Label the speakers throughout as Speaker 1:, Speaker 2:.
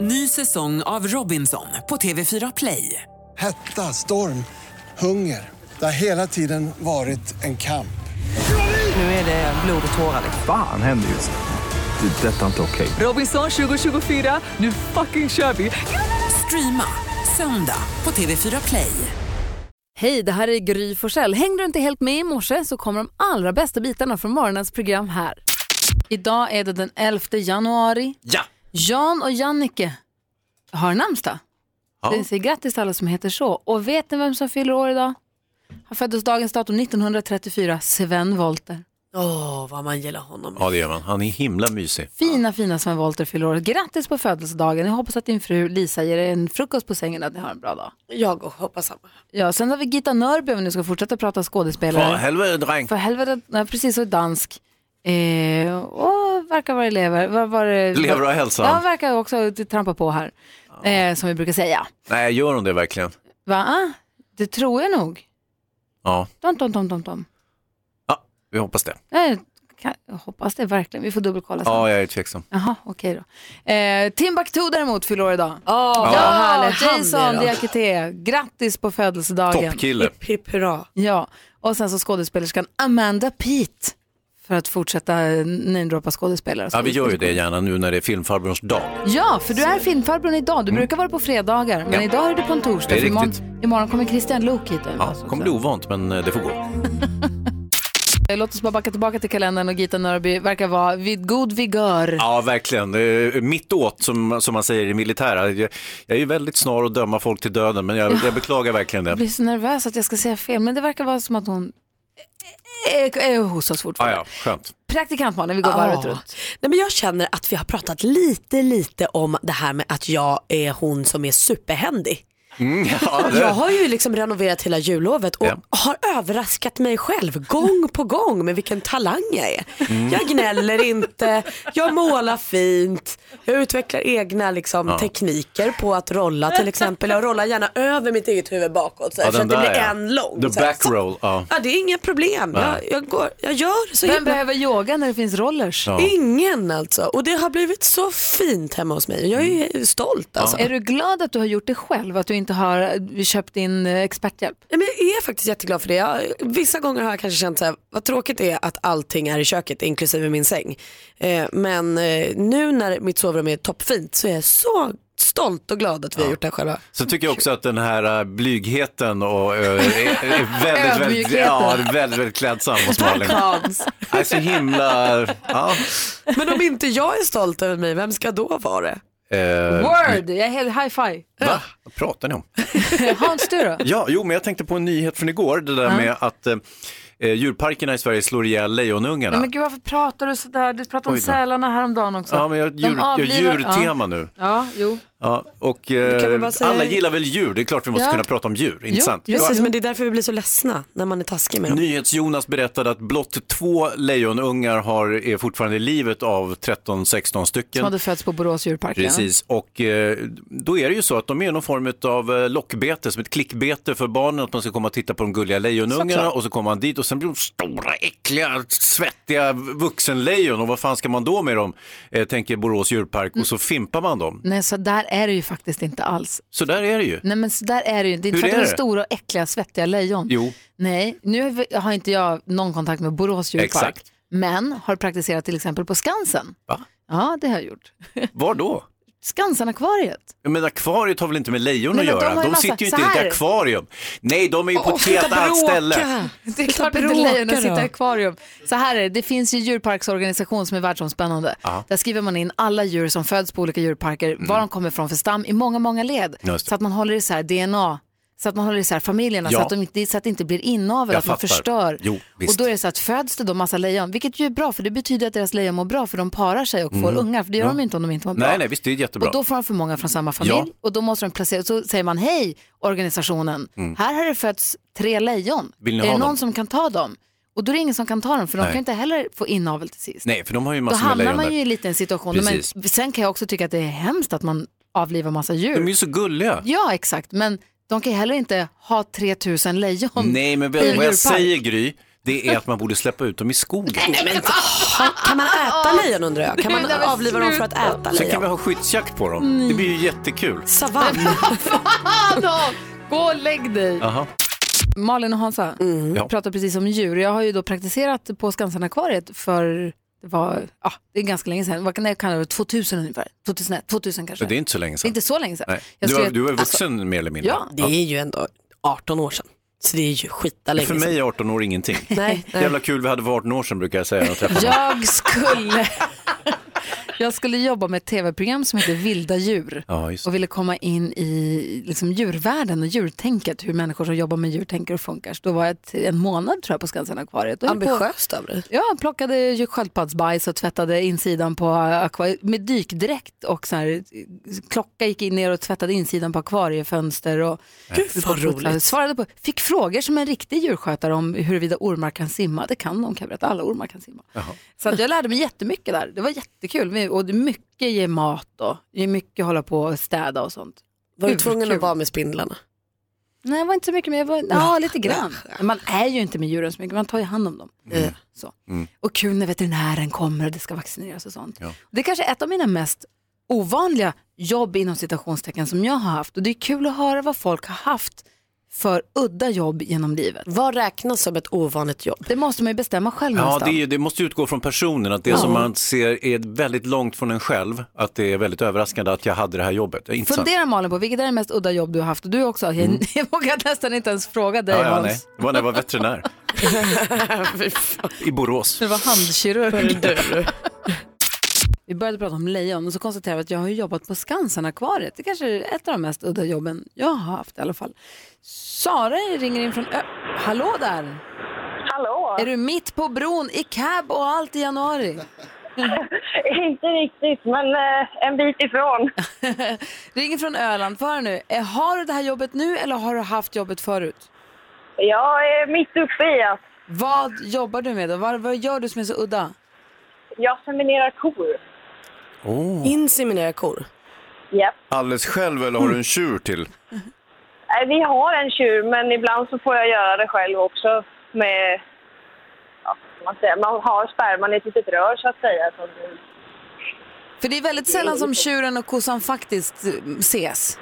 Speaker 1: Ny säsong av Robinson på TV4 Play.
Speaker 2: Hetta, storm, hunger. Det har hela tiden varit en kamp.
Speaker 1: Nu är det blod och tårar. liksom.
Speaker 3: Fan händer just nu. Det. är Detta är inte okej.
Speaker 1: Robinson 2024, nu fucking kör vi! Streama söndag på TV4 Play.
Speaker 4: Hej, det här är Gry Forssell. Hängde du inte helt med i morse så kommer de allra bästa bitarna från morgonens program här. Idag är det den 11 januari.
Speaker 5: Ja!
Speaker 4: Jan och Jannike har namnsdag.
Speaker 5: Ja.
Speaker 4: Vi säger grattis till alla som heter så. Och vet ni vem som fyller år idag? Han föddes dagens datum 1934, Sven Wollter.
Speaker 6: Åh, vad man gillar honom.
Speaker 5: ja, det gör man. Han är himla mysig.
Speaker 4: Fina, fina Sven Wollter fyller år. Grattis på födelsedagen. Jag hoppas att din fru Lisa ger er en frukost på sängen och att ni har en bra dag.
Speaker 6: Jag och hoppas samma.
Speaker 4: Ja, sen har vi Gita Nörby om vi nu ska fortsätta prata skådespelare.
Speaker 5: Fan, helvete dräng.
Speaker 4: För helvete, nej, precis, och dansk. Eh, och verkar vara elever. Var, var,
Speaker 5: Lever och hälsa.
Speaker 4: Ja, verkar också trampa på här. Eh, som vi brukar säga.
Speaker 5: Nej, gör hon det verkligen?
Speaker 4: Va? Ah, Det tror jag nog.
Speaker 5: Ja,
Speaker 4: Tom, tom, tom, tom, tom.
Speaker 5: ja vi hoppas det.
Speaker 4: Eh, kan, jag hoppas det verkligen. Vi får dubbelkolla sen.
Speaker 5: Ja, jag är tveksam.
Speaker 4: Jaha, okej då. Eh, Timbuktu däremot fyller år idag.
Speaker 6: Åh,
Speaker 4: Ja, härligt.
Speaker 6: Ah, han är
Speaker 4: Jason
Speaker 6: då.
Speaker 4: Diakité, grattis på födelsedagen.
Speaker 5: Toppkille.
Speaker 6: Hipp, hipp, hurra.
Speaker 4: Ja, och sen så skådespelerskan Amanda Peet för att fortsätta namedroppa skådespelare.
Speaker 5: Ja, vi gör ju det gärna nu när det är filmfarbrorns dag.
Speaker 4: Ja, för du är filmfarbrorn idag. Du brukar vara på fredagar, men
Speaker 5: Mm. Ja.
Speaker 4: idag är du på en torsdag.
Speaker 5: Det är
Speaker 4: för imorgon,
Speaker 5: riktigt.
Speaker 4: imorgon kommer Christian Lok hit.
Speaker 5: Ja, kommer bli ovant, men eh, det får gå.
Speaker 4: Låt oss bara backa tillbaka till kalendern och Gita Nörby verkar vara vid god vigör.
Speaker 5: Ja, verkligen. Eh, Mitt åt, som, som man säger i militära. Jag, jag är ju väldigt snar att döma folk till döden, men jag, jag beklagar verkligen
Speaker 4: Jag
Speaker 5: det.
Speaker 4: blir så nervös att jag ska säga fel, men det verkar vara som att hon är, är hos oss
Speaker 5: Ja,
Speaker 4: fortfarande.
Speaker 5: ja, skönt.
Speaker 4: Praktikantmannen, vi går varvet
Speaker 6: Ja.
Speaker 4: runt.
Speaker 6: Nej, men jag känner att vi har pratat lite, lite om det här med att jag är hon som är superhändig.
Speaker 5: Mm, Ja, det-
Speaker 6: Jag har ju liksom renoverat hela jullovet och
Speaker 5: Ja.
Speaker 6: har överraskat mig själv gång på gång med vilken talang jag är.
Speaker 5: Mm.
Speaker 6: Jag gnäller inte, jag målar fint, jag utvecklar egna liksom, tekniker på att rolla till exempel. Jag rollar gärna över mitt eget huvud bakåt så, här,
Speaker 5: Ja,
Speaker 6: så
Speaker 5: den
Speaker 6: att det
Speaker 5: där,
Speaker 6: blir
Speaker 5: ja.
Speaker 6: en lång.
Speaker 5: The
Speaker 6: så här.
Speaker 5: back roll, ja.
Speaker 6: Ja, det är inga problem.
Speaker 5: Nej.
Speaker 6: Jag, jag, går, jag gör så
Speaker 4: Vem
Speaker 6: himla
Speaker 4: behöver yoga när det finns rollers?
Speaker 5: Ja.
Speaker 6: Ingen alltså. Och det har blivit så fint hemma hos mig. Jag är
Speaker 5: Mm.
Speaker 6: stolt alltså.
Speaker 4: Är du glad att du har gjort det själv, att du inte har köpt in eh, experthjälp?
Speaker 6: Nej, Men jag är faktiskt jätteglad för det. Jag, vissa gånger har jag kanske känt så här, vad tråkigt det är att allting är i köket inklusive min säng. Eh, men eh, nu när mitt sovrum är toppfint så är jag så stolt och glad att vi har gjort det här själva.
Speaker 5: Sen tycker jag också att den här äh, blygheten och, äh, är, är väldigt, väldigt,
Speaker 4: Ödmjukheten.
Speaker 5: ja, det är väldigt, väldigt klädsam hos Malin. Nej, så himla... Ja,
Speaker 6: Men om inte jag är stolt över mig, vem ska då vara det?
Speaker 5: eh,
Speaker 4: Word! Jag är helt high five.
Speaker 5: va? Vad pratar ni om?
Speaker 4: Hans, du då?
Speaker 5: Ja, jo, men jag tänkte på en nyhet från igår, det där med att eh, djurparkerna i Sverige slår ihjäl lejonungarna.
Speaker 4: Men gud, varför pratar du sådär? Du pratade om
Speaker 5: Oj då.
Speaker 4: sälarna häromdagen också.
Speaker 5: Ja, men jag
Speaker 4: De
Speaker 5: djur, jag
Speaker 4: avlivar-
Speaker 5: djurtema
Speaker 4: ja.
Speaker 5: nu.
Speaker 4: Ja, jo.
Speaker 5: Ja, och
Speaker 6: kan väl
Speaker 5: eh,
Speaker 6: bara säga-
Speaker 5: alla gillar väl djur, det är klart vi måste
Speaker 4: Ja.
Speaker 5: kunna prata om djur, inte
Speaker 4: Jo,
Speaker 5: sant?
Speaker 4: jo.
Speaker 6: Precis, men det är därför vi blir så ledsna när man är taskig med dem.
Speaker 5: NyhetsJonas berättade att blott två lejonungar har, är fortfarande i livet av 13-16 stycken.
Speaker 4: Som hade fötts på Borås djurpark. ja.
Speaker 5: Precis, och eh, då är det ju så att de är någon form av eh, lockbete, som ett klickbete för barnen, att man ska komma och titta på de gulliga lejonungarna
Speaker 4: Såklart.
Speaker 5: och så kommer man dit och sen blir de stora, äckliga, svettiga vuxenlejon och vad fan ska man då med dem, eh, tänker Borås djurpark, och så
Speaker 4: Mm.
Speaker 5: fimpar man dem.
Speaker 4: Nej, så där är det ju faktiskt inte alls.
Speaker 5: Så där är det ju.
Speaker 4: Nej, men så där är det ju inte. Inte
Speaker 5: Hur
Speaker 4: för att
Speaker 5: är
Speaker 4: de är
Speaker 5: det?
Speaker 4: stora och äckliga, svettiga lejon.
Speaker 5: Jo,
Speaker 4: Nej, nu har inte jag någon kontakt med Borås djurpark.
Speaker 5: Exakt.
Speaker 4: Men har praktiserat till exempel på Skansen.
Speaker 5: Va?
Speaker 4: Ja, det har jag gjort.
Speaker 5: var då?
Speaker 4: Skansen-akvariet.
Speaker 5: Men akvariet har väl inte med lejon
Speaker 4: Nej,
Speaker 5: att
Speaker 4: men de
Speaker 5: göra?
Speaker 4: har ju
Speaker 5: De,
Speaker 4: massa-
Speaker 5: sitter ju inte
Speaker 4: så
Speaker 5: i
Speaker 4: här.
Speaker 5: ett akvarium. Nej, de är ju på ett helt annat ställe.
Speaker 4: Det är klart inte
Speaker 6: bråkar
Speaker 4: lejon att sitta i
Speaker 6: då.
Speaker 4: akvarium. Så här är det, det finns ju djurparksorganisation som är världsomspännande. Där skriver man in alla djur som föds på olika djurparker, var de kommer från för stam i många, många led.
Speaker 5: Mm. Just det.
Speaker 4: Så att man håller isär DNA, så att man håller isär familjerna,
Speaker 5: Ja.
Speaker 4: så, att de inte, så att det inte blir inavel,
Speaker 5: Jag
Speaker 4: att man
Speaker 5: fattar.
Speaker 4: förstör.
Speaker 5: Jo,
Speaker 4: och
Speaker 5: visst.
Speaker 4: då är det så att föds det då massa lejon, vilket ju är bra, för det betyder att deras lejon mår bra, för de parar sig och får ungar, för det gör de ju inte om de inte mår bra.
Speaker 5: Mm. Nej, nej, visst, det är jättebra.
Speaker 4: Och då får de för många från samma familj
Speaker 5: Ja.
Speaker 4: och då måste de placera, så säger man hej organisationen, här har det fötts tre lejon,
Speaker 5: Mm. Vill ni
Speaker 4: är
Speaker 5: ha
Speaker 4: det någon
Speaker 5: dem?
Speaker 4: som kan ta dem? Och då är det ingen som kan ta dem för de
Speaker 5: Nej.
Speaker 4: kan ju inte heller få inavel till sist.
Speaker 5: Nej, för de har ju
Speaker 4: då
Speaker 5: massor med
Speaker 4: hamnar
Speaker 5: lejon
Speaker 4: man
Speaker 5: där.
Speaker 4: ju i lite en situation,
Speaker 5: Precis.
Speaker 4: men sen kan jag också tycka att det är hemskt att man avlivar massa
Speaker 5: De är
Speaker 4: djur.
Speaker 5: ju så gulliga.
Speaker 4: Ja exakt, men de kan ju heller inte ha 3000 lejon.
Speaker 5: Nej, men
Speaker 4: i en
Speaker 5: vad, vad
Speaker 4: djurpark.
Speaker 5: jag säger Gry, det är att man borde släppa ut dem i skogen.
Speaker 6: Nej, men, ha- kan man äta lejon undrar jag? Kan man
Speaker 4: Nej, men
Speaker 6: avliva dem för att äta
Speaker 5: Sen kan vi
Speaker 6: lejon?
Speaker 5: ha skyddsjakt på dem.
Speaker 4: Mm.
Speaker 5: Det blir ju jättekul.
Speaker 6: Savann.
Speaker 4: Adam, gå och lägg dig.
Speaker 5: Aha.
Speaker 4: Malin och Hansa,
Speaker 5: Ja.
Speaker 4: vi pratar precis om djur. Jag har ju då praktiserat på Skansen-akvariet för det var, ja, det är ganska länge sedan, vad kan det kalla det, 2000 ungefär, 2001, 2000 kanske.
Speaker 5: Det är inte så länge
Speaker 4: Det är
Speaker 5: sedan.
Speaker 4: inte så länge sedan.
Speaker 5: Nej.
Speaker 4: Jag Alltså,
Speaker 5: Du,
Speaker 4: skrev-
Speaker 5: var, du var vuxen mer eller mindre.
Speaker 4: Ja.
Speaker 6: Det är ju ändå 18 år sedan. Så det är ju skita länge
Speaker 5: För mig är 18 år ingenting.
Speaker 6: Nej, nej.
Speaker 5: Jävla kul vi hade för 18 år sedan brukar jag säga. när jag träffar dem.
Speaker 4: Jag skulle, jag skulle jobba med ett tv-program som heter Vilda djur
Speaker 5: Ja, just. det.
Speaker 4: och ville komma in i liksom, djurvärlden och djurtänket, hur människor som jobbar med djur tänker och funkar. Så då var jag t- en månad tror jag på Skansen-akvariet. Då höll jag på-
Speaker 6: Ambitiöst av dig.
Speaker 4: Ja, plockade ju sköldpaddsbajs och tvättade insidan på akvariet med dykdräkt och så här, klocka gick in ner och tvättade insidan på akvariefönster och
Speaker 6: Gud vad roligt.
Speaker 4: svarade på, fick frågor som en riktig djurskötare om huruvida ormar kan simma. Det kan de kan jag berätta, alla ormar kan simma. Så att jag lärde mig jättemycket där, det var jättekul och det är mycket ge mat och det är mycket hålla på och städa och sånt.
Speaker 6: Var du
Speaker 4: Gud,
Speaker 6: tvungen
Speaker 4: kul.
Speaker 6: att vara med spindlarna?
Speaker 4: Nej, jag var inte så mycket med. Jag var, ja, lite grann. Man är ju inte med djuren så mycket, man tar ju hand om dem.
Speaker 5: Mm.
Speaker 4: Eh, Så. Och kul när veterinären kommer och det ska vaccineras och sånt.
Speaker 5: Ja.
Speaker 4: Det är kanske är ett av mina mest ovanliga jobb inom citationstecken som jag har haft. Och det är kul att höra vad folk har haft för udda jobb genom livet.
Speaker 6: Vad räknas som ett ovanligt jobb?
Speaker 4: Det måste man ju bestämma själv
Speaker 5: Ja, det,
Speaker 4: någonstans.
Speaker 5: är ju- det måste utgå från personen, att det som man ser är väldigt långt från en själv, att det är väldigt överraskande att jag hade det här jobbet. Det är intressant.
Speaker 4: Fundera Malin på vilket är det mest udda jobb du har haft? Och du också, jag, jag vågar nästan inte ens fråga dig
Speaker 5: Mm. Ja, ja, nej.
Speaker 4: Hans.
Speaker 5: Det var när jag var veterinär i Borås.
Speaker 4: Du var handkirurg. Vi började prata om lejon och så konstaterade vi att jag har ju jobbat på Skansen-akvariet. Det kanske är ett av de mest udda jobben jag har haft i alla fall. Sara ringer in från Ö... Hallå där!
Speaker 7: Hallå!
Speaker 4: Är du mitt på bron i cab och allt i januari?
Speaker 7: Inte riktigt, men eh, en bit ifrån.
Speaker 4: ringer från Öland. Få höra nu, Eh, har du det här jobbet nu eller har du haft jobbet förut?
Speaker 7: Jag är mitt uppe i att
Speaker 4: Vad jobbar du med då? Vad, vad gör du som är så udda?
Speaker 7: jag seminerar kor.
Speaker 5: Mm.
Speaker 6: Inseminera kor.
Speaker 7: Japp.
Speaker 5: Alldeles själv eller har du en tjur till?
Speaker 7: Nej, Eh, Vi har en tjur, men ibland så får jag göra det själv också. Med, ja, vad man, säger, man har sperman i ett litet rör, så att säga. Så det-
Speaker 4: För det är väldigt sällan som tjuren och kossan faktiskt eh, ses.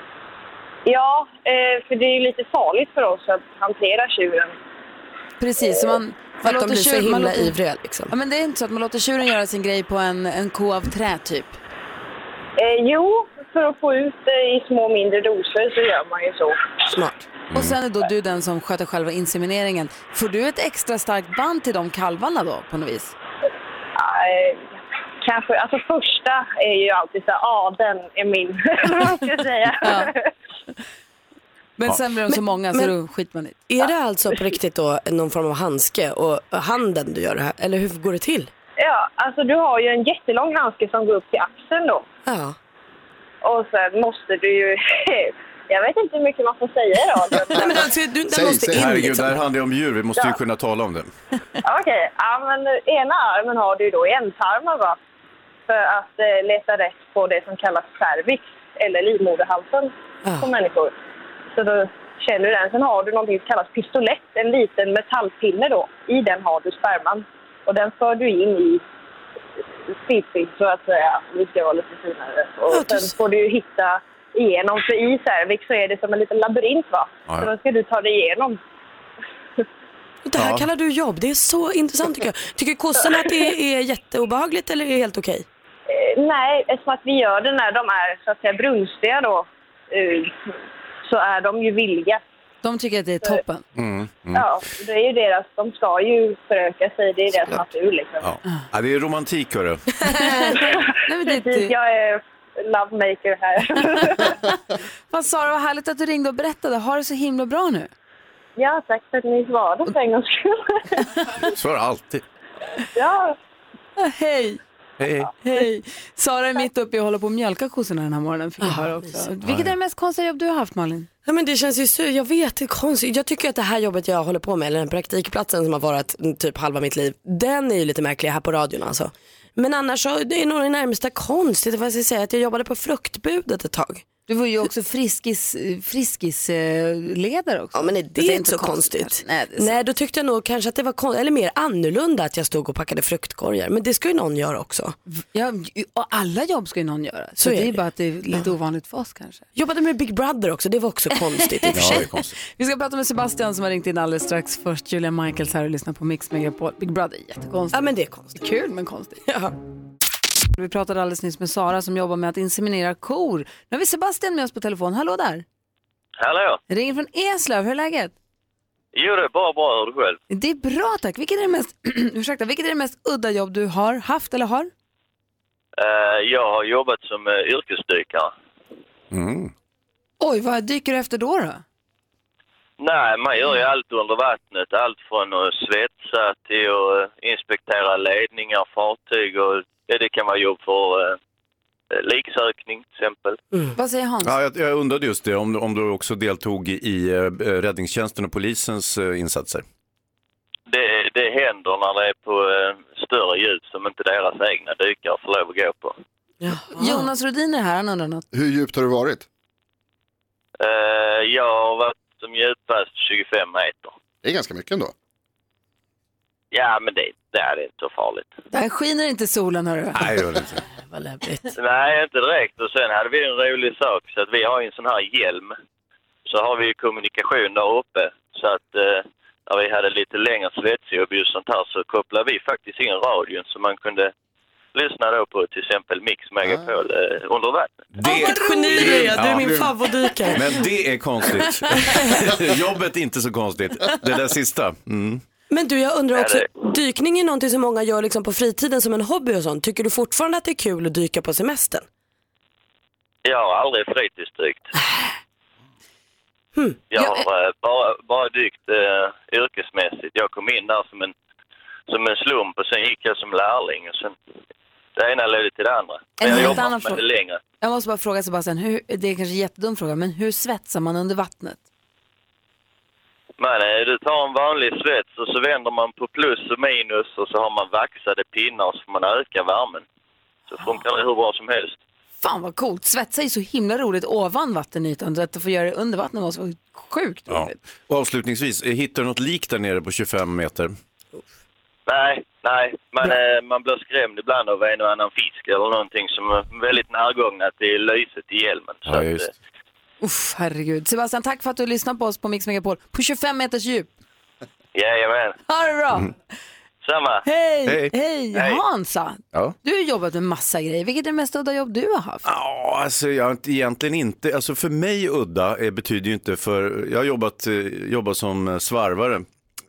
Speaker 7: Ja, eh, för det är ju lite farligt för oss att hantera tjuren.
Speaker 4: Precis, så man,
Speaker 6: För
Speaker 4: man
Speaker 6: att de
Speaker 4: låter
Speaker 6: blir så
Speaker 4: tjur- man
Speaker 6: himla
Speaker 4: låter-
Speaker 6: ivriga liksom.
Speaker 4: Ja, men det är inte så att man låter tjuren göra sin grej på en, en ko av trä typ.
Speaker 7: Eh, jo, för att få ut det i små mindre doser så gör man ju så.
Speaker 6: Smart.
Speaker 4: Och sen är då du den som sköter själva insemineringen. Får du ett extra starkt band till de kalvarna då på något vis?
Speaker 7: Eh, kanske, alltså första är ju alltid så här, ja ah, den är min, eller vad ska jag säga.
Speaker 4: Men sen blir de så många så
Speaker 6: men-
Speaker 4: då skiter man i det.
Speaker 6: Är det alltså på riktigt då någon form av handske och och handen du gör det här? Eller hur går det till?
Speaker 7: Ja, alltså du har ju en jättelång handske som går upp till axeln då.
Speaker 6: Ja.
Speaker 7: Och sen måste du ju... Jag vet inte hur mycket man får säga i radion.
Speaker 6: Nej, men alltså, du, den
Speaker 2: Säg,
Speaker 6: måste
Speaker 2: säg.
Speaker 6: in
Speaker 5: Herregud, det
Speaker 6: liksom.
Speaker 5: här handlar ju om djur, vi måste ju kunna tala om det.
Speaker 7: Okej, ja, men ena armen har du ju då i ändtarmen va? För att eh, leta rätt på det som kallas cervix, eller livmoderhalsen,
Speaker 6: Ja.
Speaker 7: på människor. Så då känner du den. Sen har du någonting som kallas pistolett, en liten metallpinne då. I den har du sperman. Och den för du in i fiffigt så att säga. Vi ska vara lite finare. Och
Speaker 6: Ja, du-
Speaker 7: sen får du ju hitta igenom, för i cervix så är det som en liten labyrint va?
Speaker 5: Ja.
Speaker 7: Så då ska du ta dig igenom.
Speaker 6: Det här
Speaker 5: Ja.
Speaker 6: kallar du jobb. Det är så intressant tycker jag. Tycker kossorna att det är jätteobehagligt eller är det helt okej?
Speaker 7: Eh, Nej, eftersom att vi gör det när de är så att säga brunstiga då, eh, så är de ju villiga.
Speaker 4: De tycker att det är toppen.
Speaker 5: Mm.
Speaker 7: Ja, det är ju deras, de ska ju föröka sig, det är deras natur liksom.
Speaker 5: Ja. Ja, det är romantik, hörru.
Speaker 4: Nej, men det,
Speaker 7: Precis,
Speaker 4: är-
Speaker 7: jag är lovemaker här.
Speaker 4: vad Sara, vad härligt att du ringde och berättade. Har det så himla bra nu.
Speaker 7: ja, tack för att ni svarade för en gångs skull.
Speaker 5: Så är det alltid.
Speaker 7: ja,
Speaker 4: Hej!
Speaker 5: Hej, hej.
Speaker 4: Hej! Sara är mitt uppe i och håller på att mjölka kossorna den här morgonen.
Speaker 6: Ah,
Speaker 4: Fick jag höra också. Vilket är det mest konstiga jobb du har haft Malin?
Speaker 6: Ja, men det känns ju så, jag vet, det är konstigt. Jag tycker att det här jobbet jag håller på med, eller den praktikplatsen som har varit mm, typ halva mitt liv, den är ju lite märklig här på radion alltså. Men annars så, det är nog det närmsta konstigt, vad ska jag säga, att jag jobbade på fruktbudet ett tag.
Speaker 4: Du var ju också friskis, friskisledare också.
Speaker 6: Ja men är det,
Speaker 4: är
Speaker 6: är inte så konstigt.
Speaker 4: Nej, det är sant.
Speaker 6: Nej då tyckte jag nog kanske att det var konstigt, eller mer annorlunda att jag stod och packade fruktkorgar. Men det ska ju någon göra också.
Speaker 4: Ja, och alla jobb ska ju någon göra. Så,
Speaker 6: Så är
Speaker 4: det är
Speaker 6: det.
Speaker 4: bara att det är lite ovanligt för oss kanske.
Speaker 6: Jobbade med Big Brother också, det var också konstigt i och för
Speaker 5: Ja, det är
Speaker 6: sig.
Speaker 5: konstigt.
Speaker 4: Vi ska prata med Sebastian som har ringt in alldeles strax. Först Julia Michaels här och lyssnar på Mix Megapol. Big Brother, jättekonstigt.
Speaker 6: Ja men det är konstigt.
Speaker 4: Kul men konstigt.
Speaker 6: Ja.
Speaker 4: Vi pratade alldeles nyss med Sara som jobbar med att inseminera kor. Nu har vi Sebastian med oss på telefon. Hallå där!
Speaker 8: Hallå!
Speaker 4: Ringer från Eslöv, hur är läget?
Speaker 8: Jo, det är bara bra. Hör du själv?
Speaker 4: Det är bra tack. Vilket är det mest, ursäkta, vilket är det mest udda jobb du har haft eller har?
Speaker 8: Eh, jag har jobbat som eh, yrkesdykare.
Speaker 4: Oj, vad dyker du efter då? då?
Speaker 8: Nej, man gör ju
Speaker 9: Mm.
Speaker 8: allt under vattnet. Allt från att svetsa till att eh, inspektera ledningar, fartyg och ja, det kan vara jobb för eh, liksökning till exempel.
Speaker 4: Vad säger Hans?
Speaker 5: Ja, jag, jag undrade just det, om, du- om du också deltog i eh, räddningstjänsten och polisens eh, insatser.
Speaker 8: Det, det händer när det är på eh, större djup som inte deras egna dykare får lov att gå på.
Speaker 4: Jonas Rodin är här, han undrar något.
Speaker 9: Hur djupt har det varit?
Speaker 8: Eh, jag har varit som djupast 25 meter.
Speaker 9: Det är ganska mycket ändå.
Speaker 8: Ja, men det, det är inte så farligt.
Speaker 4: Där skiner inte solen hörru.
Speaker 5: Nej, det gör det inte.
Speaker 6: Vad läbbigt.
Speaker 8: Nej, inte direkt. Och sen hade vi en rolig sak, så att vi har ju en sån här hjälm. Så har vi ju kommunikation där uppe. Så att eh, när vi hade lite längre svetsjobb och sånt här så kopplade vi faktiskt in radion så man kunde lyssna då på till exempel Mix Megapol eh, under vattnet.
Speaker 5: Det,
Speaker 6: Ett geni är jag, du är
Speaker 5: Ja.
Speaker 6: min favoritdykare.
Speaker 5: men det är konstigt. Jobbet är inte så konstigt. Det där sista. Mm.
Speaker 6: Men du jag undrar också,
Speaker 8: Ja,
Speaker 6: dykning är någonting som många gör liksom på fritiden som en hobby och sånt. Tycker du fortfarande att det är kul att dyka på semestern?
Speaker 8: Jag har aldrig fritidsdykt.
Speaker 4: Hmm.
Speaker 8: Jag har eh, bara, bara dykt eh, yrkesmässigt. Jag kom in där som en, som en slump och sen gick jag som lärling. Och sen, det ena ledde till det andra. Men
Speaker 4: En
Speaker 8: jag
Speaker 4: helt
Speaker 8: jobbar
Speaker 4: annan
Speaker 8: inte med det
Speaker 4: fråga.
Speaker 8: längre.
Speaker 4: Jag måste bara fråga Sebastian, hur, det är kanske en jättedum fråga, men hur svetsar man under vattnet?
Speaker 8: Men eh, du tar en vanlig svets och så vänder man på plus och minus och så har man vaxade pinnar och så får man öka värmen. Så funkar det hur bra som helst.
Speaker 4: Fan vad coolt, svetsa är ju så himla roligt ovan vattenytan, så att få göra det under vattnet måste vara sjukt
Speaker 5: Ja.
Speaker 4: roligt.
Speaker 5: Och avslutningsvis, eh, hittar du något lik där nere på 25 meter?
Speaker 8: Nej, nej. Man, eh, man blir skrämd ibland av en och annan fisk eller någonting som är väldigt närgångna till lyset i hjälmen. Så
Speaker 5: Ja,
Speaker 8: att,
Speaker 5: just.
Speaker 8: eh,
Speaker 4: Uff, herregud. Sebastian, tack för att du lyssnar på oss på Mix Megapol på 25 meters djup.
Speaker 8: Jajamän.
Speaker 4: Ha det bra!
Speaker 8: Samma.
Speaker 4: Hej! Hej!
Speaker 5: Hej.
Speaker 8: Hej.
Speaker 4: Hansa,
Speaker 5: Ja.
Speaker 4: du har jobbat med massa grejer. Vilket är det mest udda jobb du har haft?
Speaker 5: Ja, alltså jag har inte- egentligen inte. Alltså för mig udda eh, betyder ju inte för, jag har jobbat, eh, jobbat som eh, svarvare.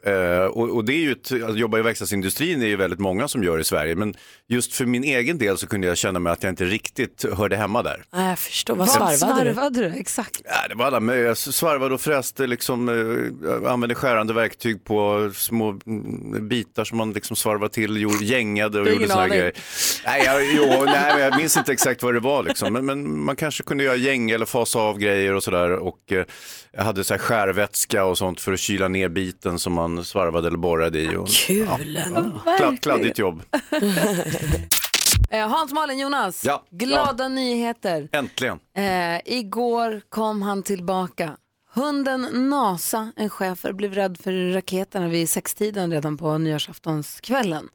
Speaker 5: Eh, och, och det är ju ett, att jobba i verkstadsindustrin är ju väldigt många som gör i Sverige. Men just för min egen del så kunde jag känna mig att jag inte riktigt hörde hemma där.
Speaker 6: Nej jag förstår, vad
Speaker 4: Vad
Speaker 6: svarvade, du?
Speaker 4: svarvade du? Exakt.
Speaker 5: Ja, det var alla möjliga. Jag svarvade och fräste, liksom, eh, jag använde skärande verktyg på små mm, bitar som man liksom svarvade till, gjorde, gängade och
Speaker 4: Du har
Speaker 5: gjorde
Speaker 4: ingen
Speaker 5: sådana
Speaker 4: aning.
Speaker 5: grejer. Nej, jag, jo, nej, men jag minns inte exakt vad det var, liksom. men, men man kanske kunde göra gäng eller fasa av grejer och sådär. Och eh, jag hade så här skärvätska och sånt för att kyla ner biten som man svarvade eller borrade i. Och,
Speaker 6: Kul ändå.
Speaker 5: kladd, kladdigt jobb,
Speaker 4: Eh, Hans, Malin, Jonas.
Speaker 5: Ja.
Speaker 4: Glada nyheter.
Speaker 5: äntligen.
Speaker 4: Eh, igår kom han tillbaka. Hunden Nasa, en schäfer, blev rädd för raketerna vid sextiden redan på nyårsaftonskvällen.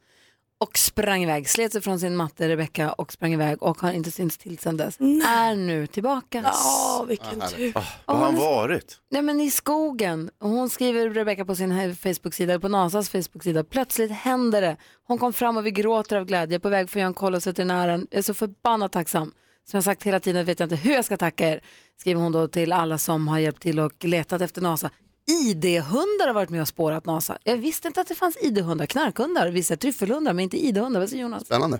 Speaker 4: Och sprang iväg, slet sig från sin matte Rebecca och sprang iväg och har inte synts till sedan dess. Är nu tillbaka.
Speaker 6: Ja, vilken tur.
Speaker 5: Var har han varit?
Speaker 4: Nej men i skogen. Och Hon skriver, Rebecca på sin här Facebook-sida, på NASAs Facebook-sida. plötsligt händer det. Hon kom fram och vi gråter av glädje. På väg för att göra en koll hos veterinären. Jag är så förbannat tacksam. Som jag sagt hela tiden vet jag inte hur jag ska tacka er. Skriver hon då till alla som har hjälpt till och letat efter NASA. ID-hundar har varit med och spårat NASA. Jag visste inte att det fanns ID-hundar, knarkhundar, vissa tryffelhundar, men inte ID-hundar. Vad säger Jonas?
Speaker 9: Spännande.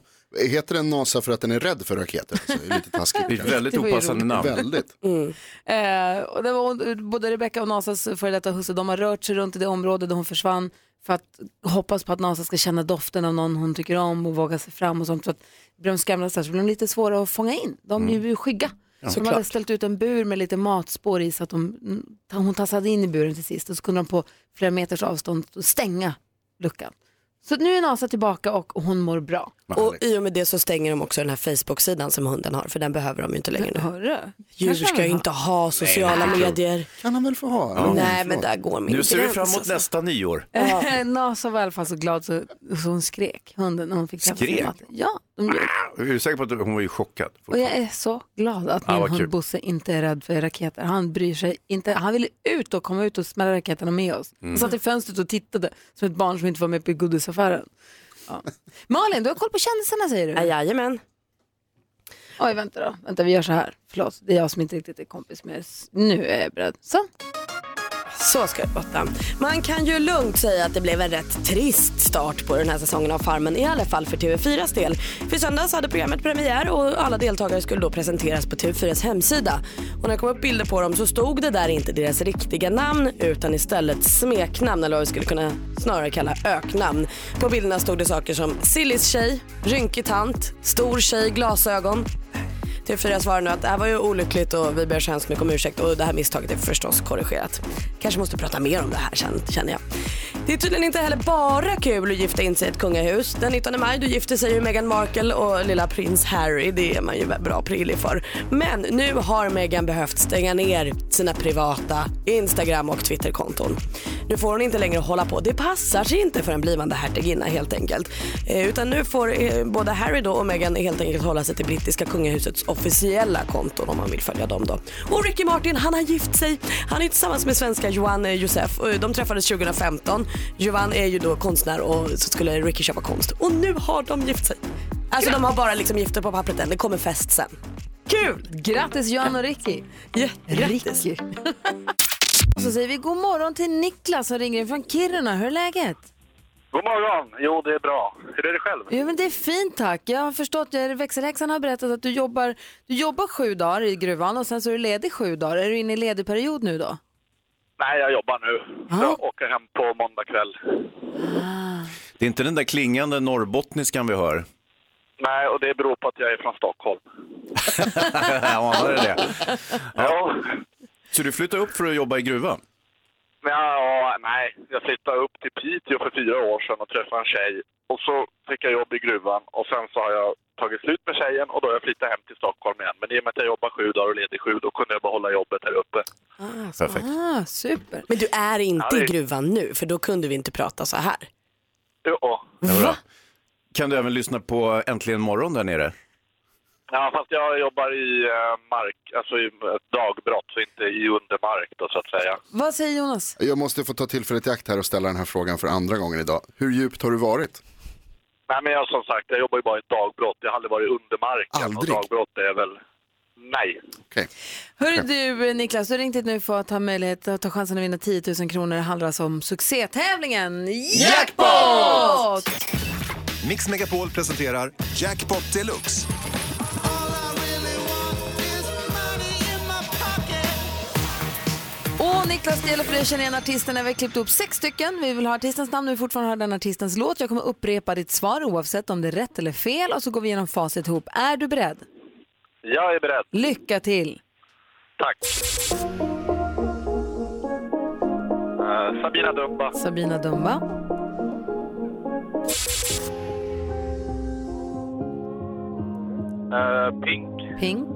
Speaker 9: Heter den NASA för att den är rädd för raketer? Alltså, det är lite taskigt.
Speaker 5: Det är ett
Speaker 9: kanske.
Speaker 5: väldigt
Speaker 4: Det var ju
Speaker 5: opassande
Speaker 4: roligt.
Speaker 5: namn.
Speaker 9: väldigt.
Speaker 6: Mm.
Speaker 4: Eh, och det var, både Rebecca och Nasas före detta husse, de har rört sig runt i det område där hon försvann för att hoppas på att Nasa ska känna doften av någon hon tycker om och våga sig fram och sånt. Så att blir de skrämda så här så blir de lite svåra att fånga in. De
Speaker 6: Mm.
Speaker 4: är ju skygga. Så de hade ställt ut en bur med lite matspår i så att de, hon tassade in i buren till sist och så kunde de på flera meters avstånd stänga luckan. Så nu är Nasa tillbaka och hon mår bra.
Speaker 6: Och i och med det så stänger de också den här Facebook-sidan som hunden har för den behöver de ju inte längre nu.
Speaker 4: Hörru,
Speaker 6: Djur
Speaker 4: kanske
Speaker 6: ska
Speaker 4: han
Speaker 6: ju inte ha sociala medier.
Speaker 9: Kan han väl få ha? Ja,
Speaker 6: Nej men
Speaker 9: förlåt.
Speaker 6: där går min
Speaker 5: Nu ser vi
Speaker 6: gräns,
Speaker 5: fram emot
Speaker 6: alltså.
Speaker 5: nästa nyår.
Speaker 4: har- Nasa var i alla fall så glad så, så hon skrek, hunden, när hon fick träffa sin
Speaker 5: Skrek?
Speaker 4: mat. Ja, de gjorde.
Speaker 5: Jag är säker på att hon var ju chockad.
Speaker 4: Och jag är så glad att
Speaker 5: Ja,
Speaker 4: min
Speaker 5: vad
Speaker 4: hund
Speaker 5: kul.
Speaker 4: Bosse inte är rädd för raketer. Han bryr sig inte. Han ville ut och komma ut och smälla raketerna med oss.
Speaker 5: Mm.
Speaker 4: Han satt i fönstret och tittade som ett barn som inte var med på godisaffären. Ja. Malin, du har koll på kändisarna säger
Speaker 6: Ja,
Speaker 4: du?
Speaker 6: Jajamän.
Speaker 4: Oj, vänta då. Vänta, vi gör så här. Förlåt, det är jag som inte riktigt är kompis med er. S- Nu är jag beredd. Så.
Speaker 6: Så ska det låta. Man kan ju lugnt säga att det blev en rätt trist start på den här säsongen av Farmen, i alla fall för TV4s del. För i söndags hade programmet premiär och alla deltagare skulle då presenteras på TV4s hemsida. Och när jag kom upp bilder på dem så stod det där inte deras riktiga namn utan istället smeknamn, eller vad vi skulle kunna snarare kalla öknamn. På bilderna stod det saker som sillis tjej, rynkig tant, stor tjej, glasögon, TV4 svarar nu att det här var ju olyckligt och vi ber så hemskt mycket om ursäkt och det här misstaget är förstås korrigerat. Kanske måste prata mer om det här sen känner jag. Det är tydligen inte heller bara kul att gifta in sig i ett kungahus. Den 19 maj då gifte sig ju Meghan Markle och lilla prins Harry. Det är man ju bra prillig för. Men nu har Meghan behövt stänga ner sina privata Instagram och Twitterkonton. Nu får hon inte längre hålla på. Det passar sig inte för en blivande hertiginna helt enkelt. Eh, utan nu får eh, både Harry då och Meghan helt enkelt hålla sig till brittiska kungahusets officiella konton om man vill följa dem då. Och Ricky Martin han har gift sig. Han är tillsammans med svenska Johan eh, Josef. Eh, De träffades 2015. Johan är ju då konstnär och så skulle Ricky köpa konst. Och nu har de gift sig. Alltså de har bara liksom gift sig på pappret än. Det kommer fest sen. Kul!
Speaker 4: Grattis Jan och Ricky.
Speaker 6: Jättegrattis.
Speaker 4: Ricky. Och så säger vi god morgon till Niklas som ringer in från Kiruna. Hur är läget?
Speaker 10: God morgon! Jo, det är bra. Hur är det själv?
Speaker 4: Jo, men det är fint tack. Jag har förstått, jag- växelhäxan har berättat att du jobbar, du jobbar sju dagar i gruvan och sen så är du ledig sju dagar. Är du inne i ledig period nu då?
Speaker 10: Nej, jag jobbar nu.
Speaker 4: Ja.
Speaker 10: Jag åker hem på måndag kväll.
Speaker 5: Det är inte den där klingande norrbottniskan vi hör.
Speaker 10: Nej, och det beror på att jag är från Stockholm.
Speaker 5: Ja, det är det.
Speaker 10: Ja,
Speaker 5: Så du flyttade upp för att jobba i gruva?
Speaker 10: men ja nej. Jag flyttade upp till Piteå för fyra år sedan och träffade en tjej. Och så fick jag jobb i gruvan och sen så har jag tagit slut med tjejen och då har jag flyttat hem till Stockholm igen. Men i och med att jag jobbar sju dagar och ledig sju, då kunde jag behålla jobbet här uppe.
Speaker 5: Perfekt.
Speaker 4: Ah, super.
Speaker 6: Men du är inte
Speaker 10: Ja, det-
Speaker 6: i gruvan nu för då kunde vi inte prata så här.
Speaker 10: Ja,
Speaker 5: Ja, bra. Kan du även lyssna på Äntligen morgon där nere?
Speaker 10: Ja, fast jag jobbar i eh, mark, alltså i ett dagbrott, så inte i undermark då så att säga.
Speaker 4: Vad säger Jonas?
Speaker 9: Jag måste få ta tillfället i akt här och ställa den här frågan för andra gången idag. Hur djupt har du varit?
Speaker 10: Nej, men jag som sagt, jag jobbar ju bara i ett dagbrott. Jag har aldrig varit i undermarken.
Speaker 9: Aldrig?
Speaker 10: Och dagbrott är väl... Nej.
Speaker 9: Okej.
Speaker 4: Hörru du eh, Niklas, du har ringt hit nu för att ha möjlighet att ta chansen att vinna 10 000 kronor. Det handlar alltså om succétävlingen Jackpot!
Speaker 11: Mix Megapol presenterar Jackpot Deluxe.
Speaker 4: Och Niklas, det gäller för dig att känna igen artisterna. Vi har klippt upp sex stycken. Vi vill ha artistens namn och vi vill fortfarande ha den artistens låt. Jag kommer upprepa ditt svar oavsett om det är rätt eller fel och så går vi igenom facit ihop. Är du beredd?
Speaker 10: Jag är beredd.
Speaker 4: Lycka till!
Speaker 10: Tack. Eh, Sabina Dumba.
Speaker 4: Sabina Dumba.
Speaker 10: Eh, Pink.
Speaker 4: Pink,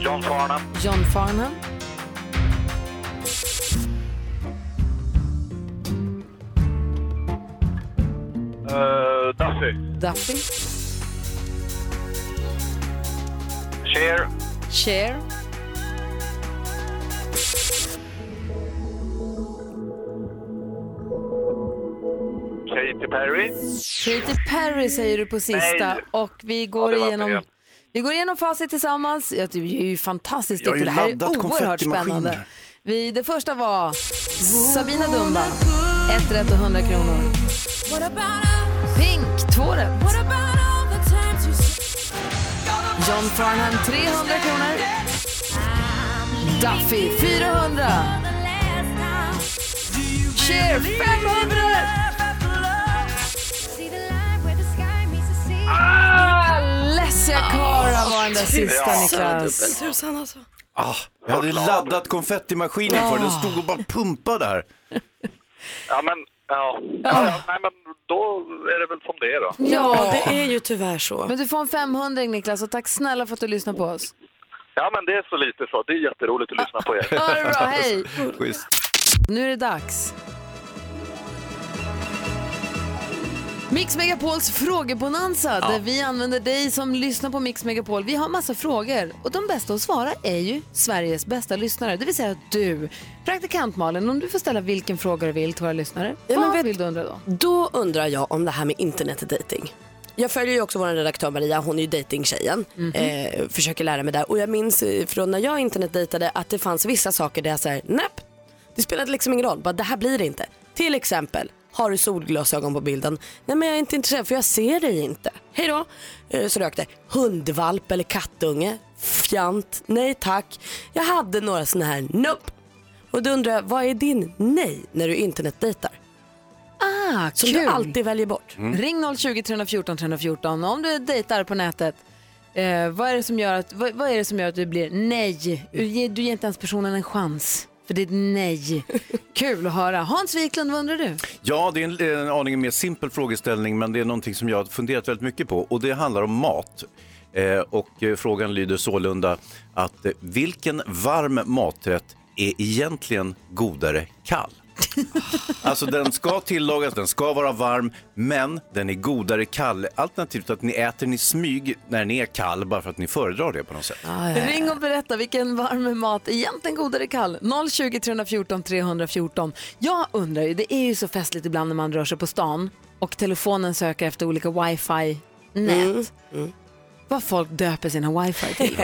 Speaker 10: John Farnham.
Speaker 4: John Farnham,
Speaker 10: Eh, Duffy.
Speaker 4: Duffy,
Speaker 10: Cher.
Speaker 4: Cher,
Speaker 10: Katy Perry.
Speaker 4: Katy Perry säger du på sista.
Speaker 10: Mm. Nej.
Speaker 4: Och vi går
Speaker 10: Ja, det var
Speaker 4: igenom...
Speaker 10: fel.
Speaker 4: Vi går igenom facit tillsammans. Ja, det är ju fantastiskt
Speaker 5: Jag har
Speaker 4: duktig.
Speaker 5: ju
Speaker 4: Det här är
Speaker 5: laddat
Speaker 4: oerhört
Speaker 5: konfettimaskiner.
Speaker 4: spännande. Vi, det första var Sabina Dumba. Ett rätt och 100 kronor. Pink, två rätt. John Farnham, 300 kronor. Duffy, 400. Cher, 500! Alessia Cara var den där sista,
Speaker 10: Ja.
Speaker 6: Så
Speaker 4: Niklas.
Speaker 6: dubbeltusan alltså.
Speaker 5: Ah, jag hade laddat konfettimaskinen för den stod och bara pumpade här.
Speaker 12: Ja, men, ja. Ja, ja, nej, men då är det väl som det är då.
Speaker 10: Ja, det är ju tyvärr så.
Speaker 4: Men du får en 500 Niklas och tack snälla för att du lyssnar på oss.
Speaker 12: Ja, men det är så lite så. Det är jätteroligt att lyssna på er.
Speaker 4: Ha det bra, hej!
Speaker 5: Schysst.
Speaker 4: Nu är det dags. Mix Megapols frågebonanza där vi använder dig som lyssnar på Mix Megapol. Vi har massa frågor och de bästa att svara är ju Sveriges bästa lyssnare, det vill säga du. Praktikant Malin, om du får ställa vilken fråga du vill till våra lyssnare,
Speaker 6: Ja, men
Speaker 4: vad
Speaker 6: vet-
Speaker 4: vill du undra då?
Speaker 6: Då undrar jag om det här med internetdating. Jag följer ju också vår redaktör Maria, hon är ju dejtingtjejen. Eh, försöker lära mig det. Och jag minns eh, från när jag internetdejtade att det fanns vissa saker där jag säger nej, det spelade liksom ingen roll, bara det här blir det inte. Till exempel, har du solglasögon på bilden? Nej men jag är inte intresserad för jag ser dig inte. Hej då! Eh, Så rök det. Hundvalp eller kattunge? Fjant, nej tack. Jag hade några sådana här nope. Och då undrar jag, vad är din nej när du internetdejtar?
Speaker 4: Ah,
Speaker 6: Som
Speaker 4: kul. Mm.
Speaker 6: du alltid väljer bort.
Speaker 4: Ring 020 314 314 om du dejtar på nätet. Eh, vad, är det som gör att, vad, vad är det som gör att du blir nej? Du ger, du ger inte ens personen en chans för ditt nej. Kul att höra. Hans Wiklund, vad undrar du?
Speaker 5: Ja, det är en, en aning mer simpel frågeställning, men det är någonting som jag har funderat väldigt mycket på och det handlar om mat. Eh, och eh, frågan lyder sålunda att eh, vilken varm maträtt är egentligen godare kall? Alltså den ska tillagas, den ska vara varm, men den är godare kall. Alternativt att ni äter den i smyg när den är kall, bara för att ni föredrar det på något sätt.
Speaker 4: Ring och berätta vilken varm mat egentligen god eller kall. 020 314 314. Jag undrar ju, det är ju så festligt ibland när man rör sig på stan och telefonen söker efter olika wifi-nät. Vad folk döper sina wifi till.